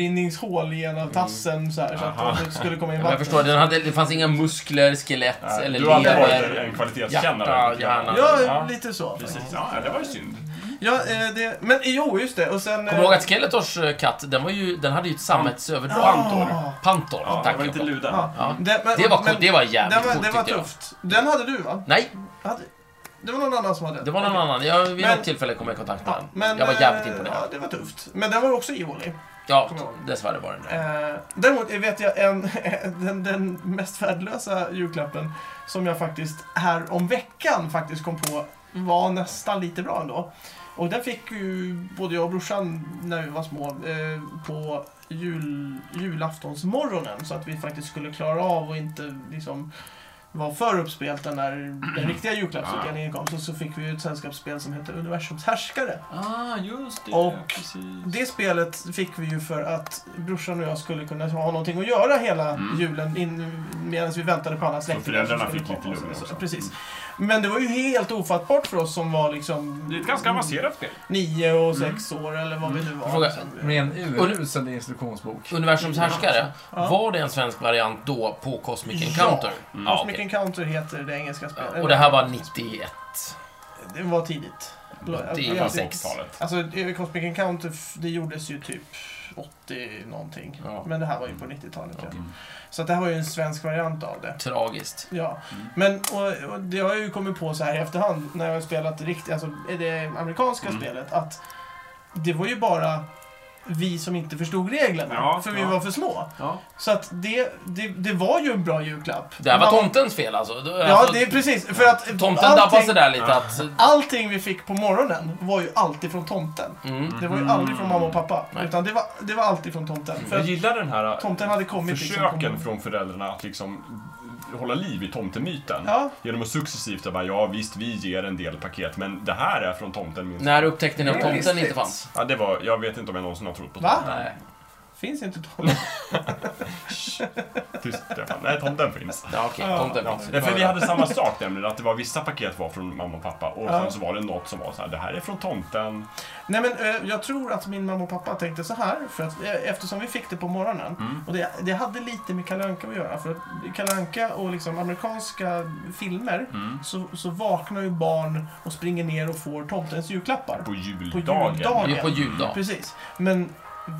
Speaker 1: avrinningshål i en av tassen så här så
Speaker 4: Mm. Aha.
Speaker 1: att det skulle komma in
Speaker 2: Men jag
Speaker 1: vatten.
Speaker 2: förstår, den hade, det fanns inga muskler, skelett
Speaker 4: Nej,
Speaker 2: eller
Speaker 4: Du har alltid varit
Speaker 2: lever.
Speaker 4: en kvalitetskännare.
Speaker 2: Hjärta,
Speaker 4: tycker jag.
Speaker 2: hjärna.
Speaker 1: Ja, lite så.
Speaker 4: Precis, ja, det var ju synd.
Speaker 1: Ja, eh, det, men jo, just det. Och sen...
Speaker 2: Kommer du ihåg att Skeletors eh, katt, den, var ju, den hade ju ett sammetsöverdrag?
Speaker 4: Pantor.
Speaker 1: Ja.
Speaker 2: Pantor,
Speaker 4: Ja, det
Speaker 2: tack
Speaker 4: var lite
Speaker 2: Jakob.
Speaker 4: luden.
Speaker 1: Ja.
Speaker 2: Ja.
Speaker 1: Det, men,
Speaker 2: Det var coolt,
Speaker 1: men-
Speaker 2: det var
Speaker 1: det
Speaker 2: jävligt
Speaker 1: var,
Speaker 2: coolt
Speaker 1: det var
Speaker 2: tyckte jag.
Speaker 1: tufft. Den hade du va?
Speaker 2: Nej,
Speaker 1: Hade, det var någon annan som hade
Speaker 2: det var någon
Speaker 1: Okej.
Speaker 2: annan. Jag, vid
Speaker 1: Men-
Speaker 2: något tillfälle kom jag i kontakt med
Speaker 1: Ja,
Speaker 2: den.
Speaker 1: men,
Speaker 2: jag var jävligt
Speaker 1: eh,
Speaker 2: imponerad.
Speaker 1: Ja, det var tufft. Men den var ju också ihålig.
Speaker 2: Ja,
Speaker 1: kommer jag ihåg.
Speaker 2: dessvärre var den det.
Speaker 1: Eh, däremot vet jag en, den, den mest värdelösa julklappen som jag faktiskt här om veckan faktiskt kom på var nästan lite bra ändå. Och den fick ju både jag och brorsan när vi var små eh, på jul, julaftonsmorgonen så att vi faktiskt skulle klara av och inte liksom var för uppspelta när den riktiga julklappsutdelningen kom. Så, så fick vi ju ett sällskapsspel som hette Universums härskare.
Speaker 4: Ah, just det.
Speaker 1: Och
Speaker 4: precis.
Speaker 1: Det spelet fick vi ju för att brorsan och jag skulle kunna ha någonting att göra hela
Speaker 4: Mm.
Speaker 1: julen in, medan vi väntade på alla släktingar.
Speaker 4: föräldrarna
Speaker 1: som skulle
Speaker 4: fick lite
Speaker 1: komma och så-
Speaker 4: lugn också. Mm.
Speaker 1: Precis. Men det var ju helt ofattbart för oss som var liksom...
Speaker 4: Det är ett ganska avancerat spel.
Speaker 1: Nio och sex år eller vad vi nu var.
Speaker 2: Fråga-
Speaker 1: liksom.
Speaker 3: Med en urusel instruktionsbok.
Speaker 2: Universums härskare,
Speaker 1: Ja.
Speaker 2: var det en svensk variant då på Cosmic
Speaker 1: Ja.
Speaker 2: Encounter?
Speaker 4: Mm.
Speaker 2: Ja,
Speaker 1: Cosmic
Speaker 2: okej.
Speaker 1: Encounter heter det engelska spelet.
Speaker 2: Och det här var 91.
Speaker 1: Det var tidigt.
Speaker 2: Det är
Speaker 1: Jag-
Speaker 2: 86.
Speaker 1: Alltså, Cosmic Encounter, f- det gjordes ju typ 80 någonting.
Speaker 2: Ja.
Speaker 1: Men det här var ju på 90-talet. Ja.
Speaker 4: Mm.
Speaker 1: Så att det här var ju en svensk variant av det.
Speaker 2: Tragiskt.
Speaker 1: Ja,
Speaker 2: Mm.
Speaker 1: men och, och det har jag ju kommit på så här i efterhand när jag har spelat riktigt, alltså är det amerikanska
Speaker 4: Mm.
Speaker 1: spelet, att det var ju bara vi som inte förstod reglerna,
Speaker 4: Ja,
Speaker 1: för vi
Speaker 4: ja.
Speaker 1: var för små.
Speaker 4: Ja.
Speaker 1: Så att det, det, det var ju en bra julklapp.
Speaker 2: Det här var
Speaker 1: Man-
Speaker 2: tomtens fel alltså. Det-
Speaker 1: Ja,
Speaker 2: alltså,
Speaker 1: det är precis. För att
Speaker 2: Tomten dabbade sig
Speaker 1: allting,
Speaker 2: där lite att...
Speaker 1: allting vi fick på morgonen var ju alltid från tomten.
Speaker 2: Mm.
Speaker 1: Det var ju aldrig från mamma och pappa,
Speaker 2: Nej. Mm.
Speaker 1: utan det var, det var alltid från tomten. För
Speaker 4: Jag
Speaker 1: att
Speaker 4: gillar den här eh,
Speaker 1: tomten hade kommit
Speaker 4: försöken
Speaker 1: liksom, på-
Speaker 4: från föräldrarna att liksom hålla liv i tomtemyten.
Speaker 1: Ja.
Speaker 4: Genom att successivt bara, ja visst vi ger en del paket, men det här är från tomten minst.
Speaker 2: När upptäckte ni att
Speaker 1: Ja,
Speaker 2: tomten
Speaker 1: visst.
Speaker 2: inte fanns?
Speaker 4: Ja, det var, jag vet inte om jag någonsin har trott på
Speaker 1: Va?
Speaker 4: tomten.
Speaker 3: Nej.
Speaker 1: Finns inte toalett.
Speaker 4: Tyst, Stefan. Nej, tomten finns.
Speaker 2: Ja, okej.
Speaker 1: Ja,
Speaker 2: tomten
Speaker 4: Ja,
Speaker 2: finns.
Speaker 4: för vi hade samma sak nämligen, att det var vissa paket var från mamma och pappa och
Speaker 1: Ja.
Speaker 4: sen så var det något som var så här, det här är från tomten.
Speaker 1: Nej men eh, jag tror att min mamma och pappa tänkte så här, för att, eh, eftersom vi fick det på morgonen.
Speaker 4: Mm.
Speaker 1: Och det, det hade lite med Kalle Anka att göra, för att Kalle Anka och liksom amerikanska filmer
Speaker 4: Mm.
Speaker 1: så, så vaknar ju barn och springer ner och får tomtens julklappar.
Speaker 4: På juldagen.
Speaker 1: juldagen.
Speaker 2: Vi är på juldag.
Speaker 1: Precis. Men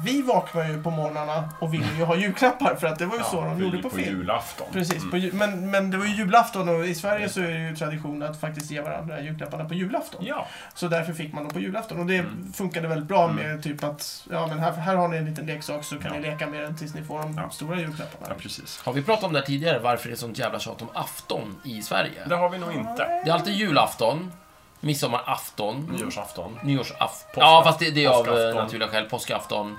Speaker 1: vi vaknar ju på morgnarna och vill ju ha julklappar, för att det var ju
Speaker 4: Mm. Ja,
Speaker 1: så de
Speaker 4: vi
Speaker 1: gjorde
Speaker 4: är
Speaker 1: på film.
Speaker 4: julafton.
Speaker 1: Precis,
Speaker 4: Mm.
Speaker 1: på ju- men, men det var ju julafton och i Sverige
Speaker 4: Just
Speaker 1: så är det ju tradition att faktiskt ge varandra julklapparna på julafton.
Speaker 4: Ja,
Speaker 1: Så därför fick man dem på julafton och det
Speaker 4: Mm.
Speaker 1: funkade väldigt bra
Speaker 4: Mm.
Speaker 1: med typ att ja, men här, här har ni en liten leksak så kan
Speaker 4: Ja.
Speaker 1: ni leka med den tills ni får de
Speaker 4: Ja.
Speaker 1: stora julklapparna.
Speaker 4: ja, precis.
Speaker 2: Har vi pratat om det här tidigare, varför det är sånt jävla tjat om afton i Sverige?
Speaker 4: Det har vi nog inte.
Speaker 2: Det är alltid julafton, midsommarafton,
Speaker 4: Nyårsafton.
Speaker 2: nyårsafton.
Speaker 4: Påskafton.
Speaker 2: Ja, fast det, det är av eh,
Speaker 4: Mm. Påskafton.
Speaker 2: naturliga skäl påskafton.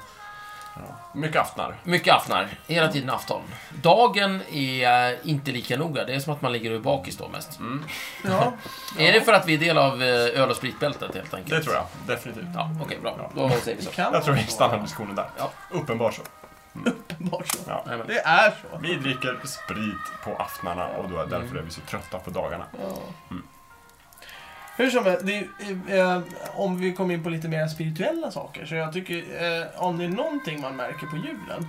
Speaker 4: Mycket aftnar.
Speaker 2: Mycket aftnar, hela tiden afton. Dagen är eh, inte lika noga, det är som att man ligger och är bakis då mest.
Speaker 1: Ja.
Speaker 2: Är det för att vi är del av eh, öl och spritbältet helt enkelt?
Speaker 4: Det tror jag. Definitivt.
Speaker 2: Ja, okej, bra. Då säger vi så.
Speaker 1: Kan
Speaker 4: Jag tror vi
Speaker 1: vara så.
Speaker 4: stannar diskussionen där.
Speaker 2: Ja.
Speaker 4: Uppenbart så.
Speaker 1: Uppenbart så.
Speaker 4: Ja.
Speaker 2: Nej, men-
Speaker 1: Det är så.
Speaker 4: Vi dricker sprit på aftnarna och då är därför
Speaker 2: Mm.
Speaker 4: är vi så trötta på dagarna.
Speaker 1: Ja.
Speaker 4: Mm.
Speaker 1: Hur som helst, det är, eh, om vi kommer in på lite mer spirituella saker. Så jag tycker, eh, om det är någonting man märker på julen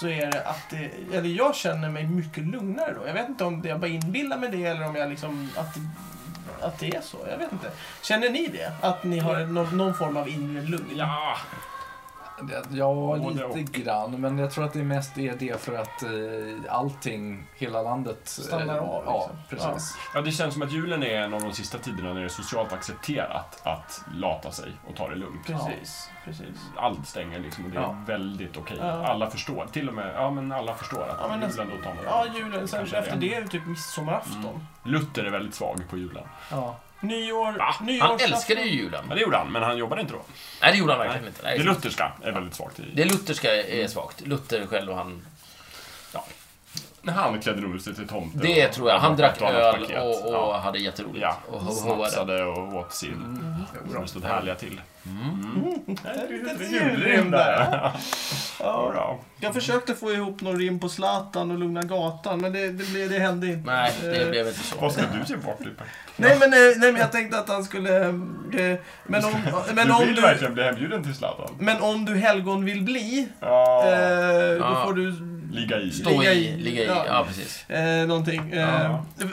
Speaker 1: så är det att det, eller jag känner mig mycket lugnare då. Jag vet inte om det, jag bara inbillar mig det eller om jag liksom, att, att det är så. Jag vet inte. Känner ni det? Att ni har någon, någon form av inre lugn?
Speaker 4: Mm. Ja!
Speaker 3: Det, ja,
Speaker 4: Både
Speaker 3: lite
Speaker 4: och.
Speaker 3: grann. Men jag tror att det mest är det för att eh, allting, hela landet... eh,
Speaker 1: Stannar av,
Speaker 3: Ja,
Speaker 1: liksom.
Speaker 3: precis.
Speaker 4: Ja, det känns som att julen är en av de sista tiderna när det är socialt accepterat att lata sig och ta det lugnt.
Speaker 1: Precis, precis.
Speaker 4: Allt stänger liksom och det är
Speaker 3: Ja.
Speaker 4: väldigt okej.
Speaker 1: Ja.
Speaker 4: Alla förstår. Till och med, ja men alla förstår att
Speaker 1: Ja, men
Speaker 4: julen då tar man
Speaker 1: Ja,
Speaker 4: det.
Speaker 1: julen. Sen
Speaker 4: Kanske
Speaker 1: efter
Speaker 4: det.
Speaker 1: det är det typ midsommarafton.
Speaker 4: Mm. Luther är väldigt svag på julen.
Speaker 3: Ja.
Speaker 1: Nyår,
Speaker 4: Va?
Speaker 2: Han
Speaker 1: nyårsafton.
Speaker 2: älskade ju julen.
Speaker 4: Ja, det gjorde han, men han jobbade inte då.
Speaker 2: Nej, det gjorde han verkligen inte. Nej,
Speaker 4: Det lutherska är väldigt svagt i...
Speaker 2: det lutherska är svagt. Luther själv och han...
Speaker 4: Han klädde nog ut sig till tomte.
Speaker 2: Det
Speaker 4: och-
Speaker 2: tror jag. Han
Speaker 4: och
Speaker 2: drack
Speaker 4: ett annat
Speaker 2: öl
Speaker 4: paket.
Speaker 2: och, och
Speaker 4: Ja.
Speaker 2: hade jätteroligt.
Speaker 4: Ja, Mm.
Speaker 2: Och hoade.
Speaker 4: snapsade och åt sill. De stod härliga till.
Speaker 1: Det är ett litet
Speaker 4: Julrim där.
Speaker 1: Ja.
Speaker 4: Bra.
Speaker 1: Jag försökte få ihop någon rim på Zlatan och Lugna Gatan, men det, det, blev, det hände inte.
Speaker 2: Nej, det
Speaker 1: Eh,
Speaker 2: blev inte så.
Speaker 4: Vad ska du se bort i?
Speaker 1: Nej men, eh, nej, men jag tänkte att han skulle... eh, Men om, men
Speaker 4: du
Speaker 1: om,
Speaker 4: vill
Speaker 1: du,
Speaker 4: verkligen bli hembjuden till Zlatan.
Speaker 1: men om du helgon vill bli,
Speaker 4: Ja.
Speaker 1: eh,
Speaker 2: Ja.
Speaker 1: då får du
Speaker 4: Ligga i.
Speaker 1: Stå-
Speaker 2: Stå i, ligga i. Ja, precis.
Speaker 1: eh, någonting. Eh,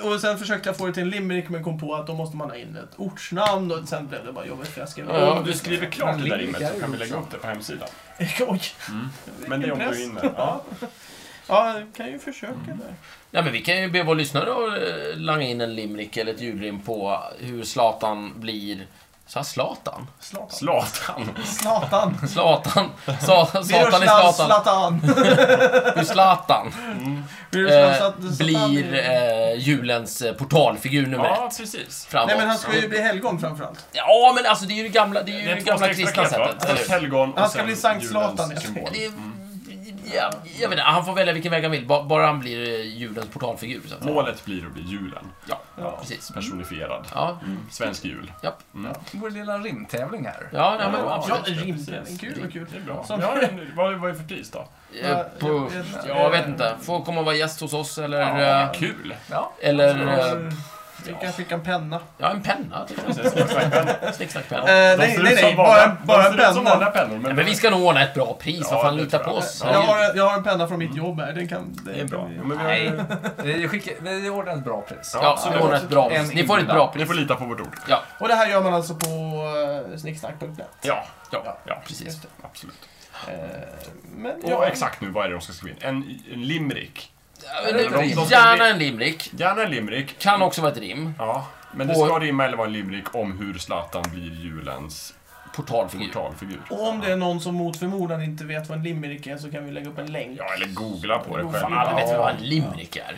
Speaker 4: Ja.
Speaker 1: och sen försökte jag få det till en limerick, men kom på att då måste man ha in ett ortsnamn och sen blev det bara jobbigt för jag skrev...
Speaker 2: Ja.
Speaker 4: Om du skriver klart det där rimmet så kan vi lägga upp det på hemsidan.
Speaker 1: Oj!
Speaker 4: Men det är om du
Speaker 1: press.
Speaker 4: är inne. Ja.
Speaker 1: Ja, jag kan ju försöka där.
Speaker 2: Ja, men vi kan ju be vår lyssnare att eh, langa in en limrik eller ett julrim på hur Zlatan blir... Sa jag Zlatan?
Speaker 1: Zlatan.
Speaker 4: Zlatan.
Speaker 1: Zlatan!
Speaker 2: Zlatan. Sa, Satan är
Speaker 1: Miroslav
Speaker 2: Zlatan.
Speaker 1: Zlatan!
Speaker 2: Eh, Hur Zlatan
Speaker 1: Miroslav
Speaker 2: eh,
Speaker 1: Zlatan är-
Speaker 2: blir eh, julens eh, portalfigur nummer
Speaker 4: Ja,
Speaker 2: ett.
Speaker 4: precis.
Speaker 2: Framåt.
Speaker 1: Nej men han ska ju bli helgon framförallt.
Speaker 2: Ja, men alltså det är ju det gamla, det är ju
Speaker 4: Det
Speaker 2: det
Speaker 4: är två
Speaker 2: gamla
Speaker 4: steg
Speaker 2: kristna
Speaker 4: staket va?
Speaker 2: sättet. eller
Speaker 4: Först
Speaker 2: hur?
Speaker 4: helgon och
Speaker 1: Han ska
Speaker 4: sen
Speaker 1: bli Sankt
Speaker 4: julens
Speaker 1: Zlatan, jag
Speaker 4: symbol.
Speaker 2: Det är, ja, jag vet inte, han får välja vilken väg han vill, ba- bara han blir eh, julens portalfigur. Så att säga.
Speaker 4: Målet blir att bli julen.
Speaker 2: Ja,
Speaker 1: Ja.
Speaker 2: precis.
Speaker 4: Personifierad.
Speaker 2: Ja,
Speaker 1: Mm.
Speaker 4: Svensk jul.
Speaker 2: japp.
Speaker 3: Vår lilla rimtävling här.
Speaker 2: Ja, nej, men
Speaker 4: Ja,
Speaker 1: Ja,
Speaker 2: absolut.
Speaker 1: rimligen. Gud vad
Speaker 4: Det är
Speaker 1: kul.
Speaker 4: bra.
Speaker 1: Som-
Speaker 4: Ja, men Vad vad är för pris då?
Speaker 2: Eh, På, jag vet inte. Får komma och vara gäst hos oss eller... eh,
Speaker 4: Kul!
Speaker 3: Ja.
Speaker 2: Eller... eh,
Speaker 1: Vi kan skicka en penna.
Speaker 2: Ja, en penna. typ. Snicksnackpenna.
Speaker 1: Eh, nej,
Speaker 4: De ser
Speaker 1: nej,
Speaker 4: ut
Speaker 1: nej,
Speaker 4: som
Speaker 1: bara,
Speaker 4: vanliga-
Speaker 1: bara
Speaker 4: de ser ut som vanliga
Speaker 1: penna.
Speaker 4: pennor.
Speaker 2: Ja, men vi ska nog ordna ett bra pris,
Speaker 4: Ja,
Speaker 2: vad fan
Speaker 4: det
Speaker 2: lita
Speaker 4: tror
Speaker 2: på
Speaker 4: jag.
Speaker 2: oss.
Speaker 1: Jag har, jag har en penna från mitt jobb här, den kan...
Speaker 4: Det är bra. Ja, men vi har-
Speaker 3: Nej, vi, skickar, vi ordnar ett bra pris.
Speaker 4: Ja.
Speaker 2: Ja, vi ordnar ett bra
Speaker 3: En
Speaker 2: pris. Ni får ett
Speaker 3: inbjudan.
Speaker 2: bra
Speaker 4: Ni
Speaker 2: pris.
Speaker 4: får lita på vårt ord.
Speaker 2: Ja,
Speaker 1: Och det här gör man alltså på eh, snicksnack.net.
Speaker 4: Ja,
Speaker 2: ja,
Speaker 4: ja
Speaker 2: precis.
Speaker 1: Just det.
Speaker 4: absolut.
Speaker 1: Eh, men
Speaker 4: Och
Speaker 1: ja,
Speaker 4: exakt nu, vad är det de ska skriva in? En, en limrik.
Speaker 2: Ja, men
Speaker 4: de- de-
Speaker 2: Gärna en limrik.
Speaker 4: Gärna en limrik.
Speaker 2: Kan också vara ett rim.
Speaker 4: Ja, men det
Speaker 2: Och-
Speaker 4: ska rimma eller vara en limrik om hur Zlatan blir julens
Speaker 2: Portalfigur.
Speaker 4: portalfigur.
Speaker 1: Och om det är någon som mot förmodan inte vet vad en limerick är så kan vi lägga upp en länk.
Speaker 4: Ja, eller googla på det
Speaker 1: Jo,
Speaker 4: själv.
Speaker 1: fan,
Speaker 2: Alla vet väl vad
Speaker 4: Ja.
Speaker 2: en limrik är?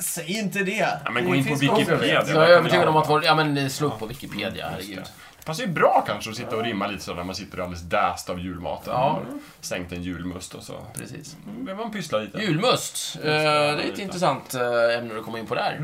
Speaker 1: Säg inte det!
Speaker 4: Ja, men
Speaker 1: Det
Speaker 4: gå in på
Speaker 1: finns-
Speaker 4: Wikipedia.
Speaker 2: Jag är övertygad om att vår, ja, men eh, slå upp på Wikipedia, herregud.
Speaker 4: Det passar ju bra kanske att sitta och rimma lite så när man sitter alldeles däst av julmaten.
Speaker 2: Ja.
Speaker 4: Man har Sänkt en julmust och så
Speaker 2: Precis.
Speaker 4: behöver man pyssla lite.
Speaker 2: Julmust. Eh, Det är ett intressant eh, ämne du kommer in på där.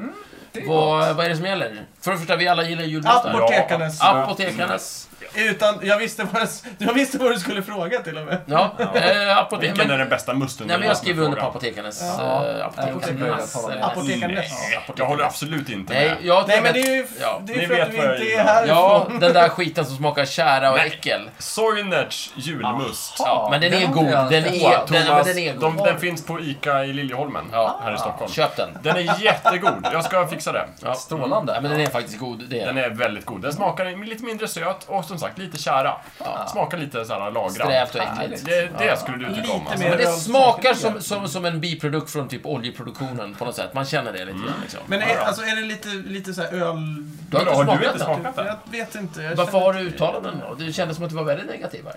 Speaker 3: Det är
Speaker 2: Vad, vad är det som gäller? För det första, vi alla gillar julmusten.
Speaker 1: Apotekarnes.
Speaker 4: Ja.
Speaker 2: Apotekarnas.
Speaker 1: Utan, jag visste, vad, jag visste vad du skulle fråga till och med.
Speaker 2: Ja, eh, apotek-
Speaker 4: Vilken
Speaker 2: men-
Speaker 4: är den bästa musten?
Speaker 2: Nej,
Speaker 4: Det
Speaker 2: men
Speaker 4: är
Speaker 2: jag
Speaker 4: som
Speaker 2: skriver under på
Speaker 4: frågan.
Speaker 2: apotekarnas.
Speaker 1: Ja.
Speaker 2: eh, Apotekarnas.
Speaker 3: Apotekarnas.
Speaker 2: eller-
Speaker 1: Apotek- Apotekarnes.
Speaker 4: Nej, jag håller absolut inte
Speaker 2: Nej,
Speaker 4: med.
Speaker 2: jag
Speaker 1: Nej
Speaker 2: tror
Speaker 1: men
Speaker 2: att...
Speaker 1: det är ju
Speaker 2: Ja.
Speaker 1: det är
Speaker 4: Ni
Speaker 1: för
Speaker 4: vet
Speaker 1: att vi
Speaker 4: vad jag
Speaker 1: inte är
Speaker 4: gillar.
Speaker 1: härifrån.
Speaker 2: Ja, den där skiten som smakar tjära och
Speaker 4: Nej.
Speaker 2: äckel.
Speaker 4: Sojnerts julmust.
Speaker 2: Ja, men den är god. Den är,
Speaker 4: Åh,
Speaker 2: den, men
Speaker 4: Thomas,
Speaker 2: den är god.
Speaker 4: de, den finns på ICA i Liljeholmen
Speaker 2: Ja.
Speaker 4: här i Stockholm.
Speaker 2: Köp den.
Speaker 4: Den är jättegod. Jag ska fixa den.
Speaker 2: Ja.
Speaker 3: Strålande.
Speaker 2: Ja, men den är faktiskt god. Det är
Speaker 4: Den är väldigt god. Den smakar lite mindre söt och som sagt lite kära. Smakar lite så här lagrad.
Speaker 2: Strävt och äckligt.
Speaker 4: Det, det skulle du tycka om.
Speaker 1: Lite
Speaker 4: Alltså.
Speaker 1: mer-
Speaker 2: Men det smakar som, som, som en biprodukt från typ oljeproduktionen på något sätt. Man känner det lite grann liksom.
Speaker 1: Men är, alltså, är det lite, lite så här öl...
Speaker 2: Du har
Speaker 4: Men har
Speaker 2: inte
Speaker 4: du
Speaker 2: smakat
Speaker 4: inte
Speaker 2: den.
Speaker 4: smakat? den?
Speaker 1: Jag vet inte. Jag
Speaker 2: Varför
Speaker 1: känner-
Speaker 2: har du uttalat den då? Det kändes som att du var väldigt negativ här.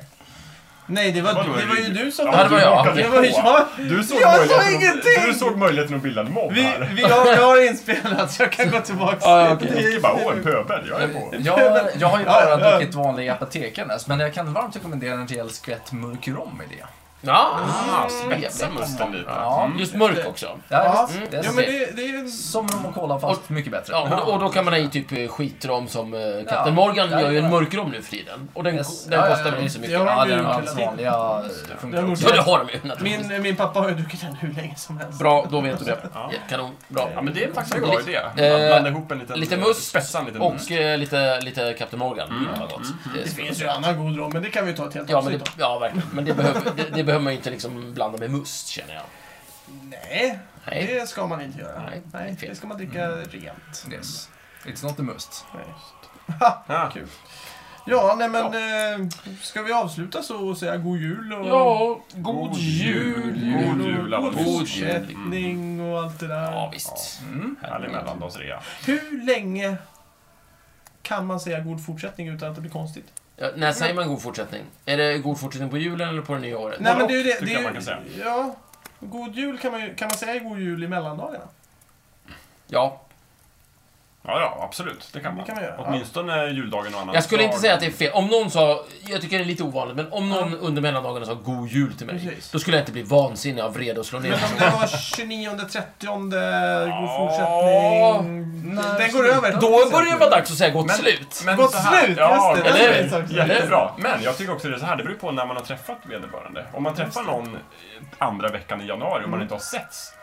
Speaker 1: Nej, det var,
Speaker 4: Vadå,
Speaker 1: det var ju
Speaker 4: Ryd?
Speaker 1: du som...
Speaker 2: Ja, det var jag.
Speaker 4: du hakade
Speaker 1: Det var ju
Speaker 4: på.
Speaker 1: jag.
Speaker 4: Du såg,
Speaker 1: Jag
Speaker 4: möjligheten
Speaker 1: sa
Speaker 4: att-
Speaker 1: ingenting!
Speaker 4: du såg möjligheten att bilda en mobb
Speaker 1: Vi,
Speaker 4: här.
Speaker 1: vi har, jag har inspelat, så jag kan gå tillbaka.
Speaker 2: Ja, ja, okej.
Speaker 1: Det är-
Speaker 4: Det är bara, åh, en pöbel, jag är på.
Speaker 3: Jag, jag har ju
Speaker 1: Ja,
Speaker 3: bara
Speaker 1: ja.
Speaker 3: druckit vanliga apotekarnas, men jag kan varmt rekommendera en rejäl skvätt mörk rom i det.
Speaker 2: Ja,
Speaker 4: Spetsa musten lite.
Speaker 3: Ja.
Speaker 4: Mm.
Speaker 2: Ah, Just mörk också.
Speaker 1: Ja,
Speaker 3: Ja,
Speaker 1: mm.
Speaker 3: visst. det är
Speaker 1: ja, men det, det är ju...
Speaker 3: Som rom och cola fast mycket bättre.
Speaker 2: Ja, och, då, och då kan man ha i typ eh, skitrom som eh, Captain
Speaker 3: Ja.
Speaker 2: Morgan
Speaker 3: Ja,
Speaker 2: gör ju en
Speaker 3: ja.
Speaker 2: mörkrom nu för tiden. Och den,
Speaker 3: Yes.
Speaker 2: den
Speaker 3: Ja, ja,
Speaker 2: kostar
Speaker 3: ja.
Speaker 2: väl inte så mycket.
Speaker 1: Jag har
Speaker 3: Ja,
Speaker 1: ju
Speaker 3: den
Speaker 1: brun
Speaker 3: hans
Speaker 1: hela tiden.
Speaker 3: vanliga eh, funkar
Speaker 1: Den
Speaker 3: också.
Speaker 2: Ja, det har de ju naturligtvis.
Speaker 1: Min, min pappa har ju druckit den hur länge som helst.
Speaker 2: Bra, då vet du det.
Speaker 4: Ja.
Speaker 2: Ja, Kanon, bra.
Speaker 4: Ja, men det är faktiskt en
Speaker 2: Lite-
Speaker 4: bra idé. Man
Speaker 2: eh,
Speaker 4: Blanda ihop en liten...
Speaker 2: lite must
Speaker 4: Spetsa en liten must.
Speaker 2: Och eh, lite, lite Captain Morgan. Det var gott.
Speaker 1: Det
Speaker 2: Eh,
Speaker 1: finns ju annan god rom, men det kan vi ta ett helt
Speaker 2: Ja, men
Speaker 1: avsnitt
Speaker 2: det,
Speaker 1: om.
Speaker 2: ja verkligen. Men det behöver, det, det behöver man ju inte liksom blanda med must, känner jag.
Speaker 1: Nej,
Speaker 2: Nej.
Speaker 1: det ska man inte göra.
Speaker 2: Nej, det är
Speaker 1: Nej,
Speaker 2: fel. Mm.
Speaker 1: det ska man dricka rent.
Speaker 3: Yes. It's not the must.
Speaker 1: Nej.
Speaker 4: Ja.
Speaker 1: Kul. Ja, nej men... Eh, ska vi avsluta så och säga god jul och...
Speaker 4: god jul.
Speaker 1: och-
Speaker 4: God jul, Mm. alla
Speaker 1: och
Speaker 4: lyssnare.
Speaker 1: fortsättning och allt det där.
Speaker 2: Ja, visst.
Speaker 3: Mm.
Speaker 4: Härlig mellandagsrea.
Speaker 1: Hur länge kan man säga god fortsättning utan att det blir konstigt?
Speaker 2: Ja, när säger man god fortsättning? Är det god fortsättning på julen eller på det nya året?
Speaker 1: Nej,
Speaker 4: Både
Speaker 1: men det är ju
Speaker 4: och,
Speaker 1: det.
Speaker 4: tycker
Speaker 1: det är
Speaker 4: jag
Speaker 1: ju,
Speaker 4: man kan säga.
Speaker 1: Ja. God jul kan man ju... Kan man säga god jul i mellandagarna?
Speaker 2: Ja.
Speaker 4: Ja, ja, absolut. Det kan
Speaker 1: Det
Speaker 4: man.
Speaker 1: kan man göra, ja.
Speaker 4: Åtminstone juldagen och annan
Speaker 2: Jag skulle inte
Speaker 4: dag.
Speaker 2: säga att det är fel. Om någon sa, jag tycker det är lite ovanligt, men om någon under mellandagarna sa god jul till mig,
Speaker 1: Precis.
Speaker 2: då skulle jag inte bli vansinnig av vrede och slå ner
Speaker 1: Men om
Speaker 2: personen.
Speaker 1: det var 29, 30, god
Speaker 4: Ja.
Speaker 1: fortsättning.
Speaker 3: Nej,
Speaker 1: Den går över.
Speaker 2: Då börjar det vara dags att säga gott
Speaker 4: Men-
Speaker 2: slut.
Speaker 4: Men
Speaker 1: Gott
Speaker 4: så här-
Speaker 1: slut,
Speaker 4: Ja,
Speaker 1: just det.
Speaker 4: eller
Speaker 1: Den
Speaker 2: hur?
Speaker 1: är exakt-
Speaker 4: Jättebra. Men jag tycker också det är så här, det beror på när man har träffat vederbörande. Om man träffar någon eh, andra veckan i januari och
Speaker 2: Mm.
Speaker 4: man inte har setts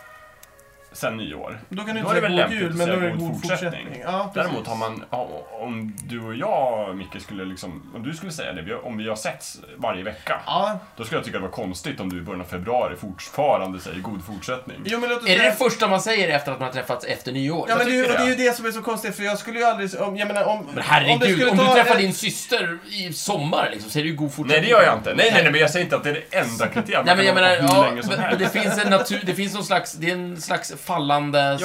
Speaker 4: sen nyår.
Speaker 1: Då kan du
Speaker 4: Då
Speaker 1: inte
Speaker 4: är
Speaker 1: säga
Speaker 4: det väl
Speaker 1: god
Speaker 4: lämpligt
Speaker 1: jul,
Speaker 4: att
Speaker 1: men då
Speaker 4: säga
Speaker 1: är det
Speaker 4: god
Speaker 1: god
Speaker 4: fortsättning.
Speaker 1: fortsättning. Ja, precis.
Speaker 4: Däremot har man, ja, om du och jag Micke skulle liksom, om du skulle säga det, vi har- om vi har setts varje vecka.
Speaker 1: Ja,
Speaker 4: Då skulle jag tycka det var konstigt om du i början av februari fortfarande säger god fortsättning.
Speaker 1: jo men låt oss
Speaker 2: Är det det
Speaker 1: säga...
Speaker 2: första man säger efter att man har träffats efter nyår?
Speaker 1: Ja, men det, är ju-
Speaker 4: tycker
Speaker 1: och det är ju
Speaker 4: det.
Speaker 1: det som är så konstigt, för jag skulle ju aldrig... Om, jag menar, om,
Speaker 2: Men
Speaker 1: om det
Speaker 2: herregud,
Speaker 1: skulle
Speaker 2: om, du
Speaker 1: ta-
Speaker 2: träffar din syster i sommar liksom, så är det ju god fortsättning.
Speaker 4: Nej, det gör jag inte. Nej, nej, nej, men jag säger inte att det är det enda kriteriet.
Speaker 2: Nej men jag
Speaker 4: Man
Speaker 2: menar,
Speaker 4: kan hålla på hur
Speaker 2: ja,
Speaker 4: länge som
Speaker 2: men-
Speaker 4: helst.
Speaker 2: men det finns en natur, det finns någon slags, det är en slags fallande
Speaker 4: Ja,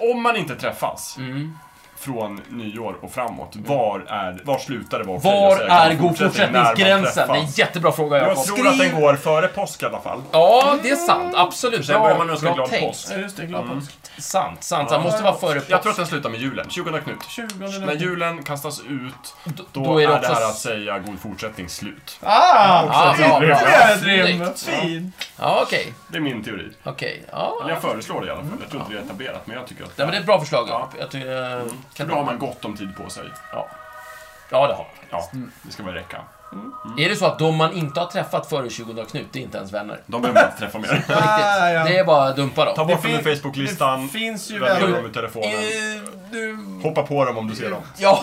Speaker 2: skala.
Speaker 4: om man inte träffas
Speaker 2: Mm.
Speaker 4: från nyår och framåt, var, är, var slutar det vara okej att
Speaker 2: Var
Speaker 4: säga
Speaker 2: är god
Speaker 4: fortsättning när man
Speaker 2: fortsättningsgränsen? Det är en
Speaker 4: träffas?
Speaker 2: jättebra fråga
Speaker 4: Jag
Speaker 2: Jakob.
Speaker 4: tror att den går före påsk i alla fall.
Speaker 2: Ja, det är sant. Absolut.
Speaker 4: Sen börjar man
Speaker 2: Bra-
Speaker 4: önska
Speaker 2: bra
Speaker 4: glad
Speaker 2: tänkt.
Speaker 4: påsk.
Speaker 1: Ja, just det. Glad påsk.
Speaker 2: Sant, sant. Det måste vara före
Speaker 4: Jag tror att den slutar med julen, 20 Knut.
Speaker 1: 20
Speaker 4: När julen kastas ut,
Speaker 2: Då,
Speaker 4: då,
Speaker 2: då är det också...
Speaker 4: här att säga god fortsättning slut.
Speaker 1: Ah!
Speaker 2: Ja, bra, bra.
Speaker 1: Ytterligare ett rim!
Speaker 2: Snyggt.
Speaker 1: Fint!
Speaker 2: Ja, okej.
Speaker 4: Det är min teori.
Speaker 2: Okej. Ja.
Speaker 4: Eller jag föreslår det i alla fall. Jag tror inte det är etablerat, men jag tycker att
Speaker 2: Ja, men det är ett bra förslag.
Speaker 4: Ja.
Speaker 2: Ja. Jag tycker, eh,
Speaker 4: det är
Speaker 2: kan
Speaker 4: bra om man gott om tid på sig.
Speaker 2: Ja. ja, det har man.
Speaker 4: Ja, det ska väl räcka. Mm.
Speaker 2: Är det så att de man inte har träffat före 2000 Knut, det är inte ens vänner?
Speaker 4: De behöver man inte träffa mer.
Speaker 2: På riktigt.
Speaker 1: Ah, ja.
Speaker 2: Det är bara att dumpa
Speaker 4: Ta
Speaker 2: dem.
Speaker 4: bort dem
Speaker 1: fin-
Speaker 4: ur Facebooklistan,
Speaker 1: Det finns ju
Speaker 4: välja
Speaker 1: väl...
Speaker 4: dem ur telefonen.
Speaker 2: Eh, du-
Speaker 4: Hoppa på dem om du ser dem.
Speaker 2: Ja.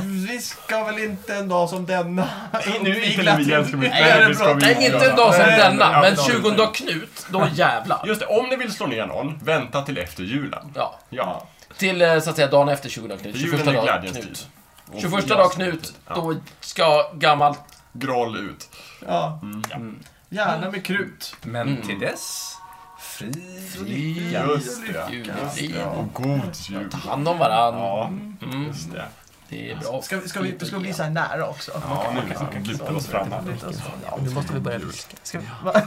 Speaker 1: Vi ska väl inte en dag som denna...
Speaker 4: Nej, nu inte
Speaker 1: glatt-
Speaker 4: nu igen ska vi
Speaker 1: Nej, det är bra.
Speaker 2: Nej,
Speaker 4: Mm.
Speaker 2: inte en dag som
Speaker 1: Nej, nej,
Speaker 2: denna, men 2000
Speaker 4: 20
Speaker 2: Knut, då jävlar.
Speaker 4: Just det, om ni vill slå ner någon, vänta till efter julen.
Speaker 2: Ja.
Speaker 4: Ja.
Speaker 2: Till, eh, så att säga, dagen efter 2000 Knut.
Speaker 4: För
Speaker 2: 21
Speaker 4: julen är
Speaker 2: dag
Speaker 4: glädjens tid.
Speaker 2: Knut.
Speaker 4: Och
Speaker 2: 21
Speaker 4: frias
Speaker 2: dag Knut,
Speaker 4: Ja.
Speaker 2: då ska gammalt...
Speaker 4: Groll ut.
Speaker 1: Ja.
Speaker 3: Mm.
Speaker 1: Gärna med krut.
Speaker 3: Men
Speaker 2: Mm.
Speaker 3: till dess, fri
Speaker 2: Fria
Speaker 4: Just det.
Speaker 2: julefrid.
Speaker 1: Ja.
Speaker 4: Och god jul.
Speaker 2: Ta hand om varandra.
Speaker 4: Ja,
Speaker 2: Mm,
Speaker 4: just det.
Speaker 2: det är bra.
Speaker 1: Ska, vi- ska, vi, ska vi bli så här nära också?
Speaker 4: Ja, nu kan vi luta oss fram här.
Speaker 2: Ja, nu måste vi börja ruska.
Speaker 1: Ska vi, va?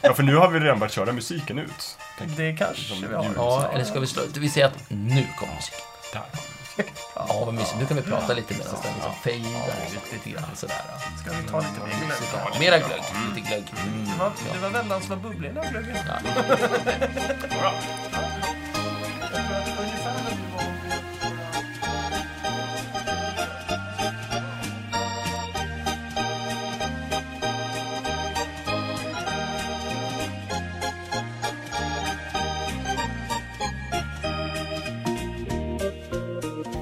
Speaker 4: Ja, för nu har vi redan börjat köra musiken ut.
Speaker 1: Det kanske vi har.
Speaker 2: Ja, eller ska vi slå Vi säger att nu kommer musik. Ja, vad mysigt. Nu kan vi prata lite medan den liksom fejdar lite grann sådär.
Speaker 1: Ska vi ta lite mer glögg?
Speaker 2: Ja, Mera glögg, lite glögg.
Speaker 4: Mm.
Speaker 2: Mm.
Speaker 1: Det var- Det var väldans vad bubblig den här glöggen.
Speaker 2: Ja.
Speaker 1: Jag tror att ungefär-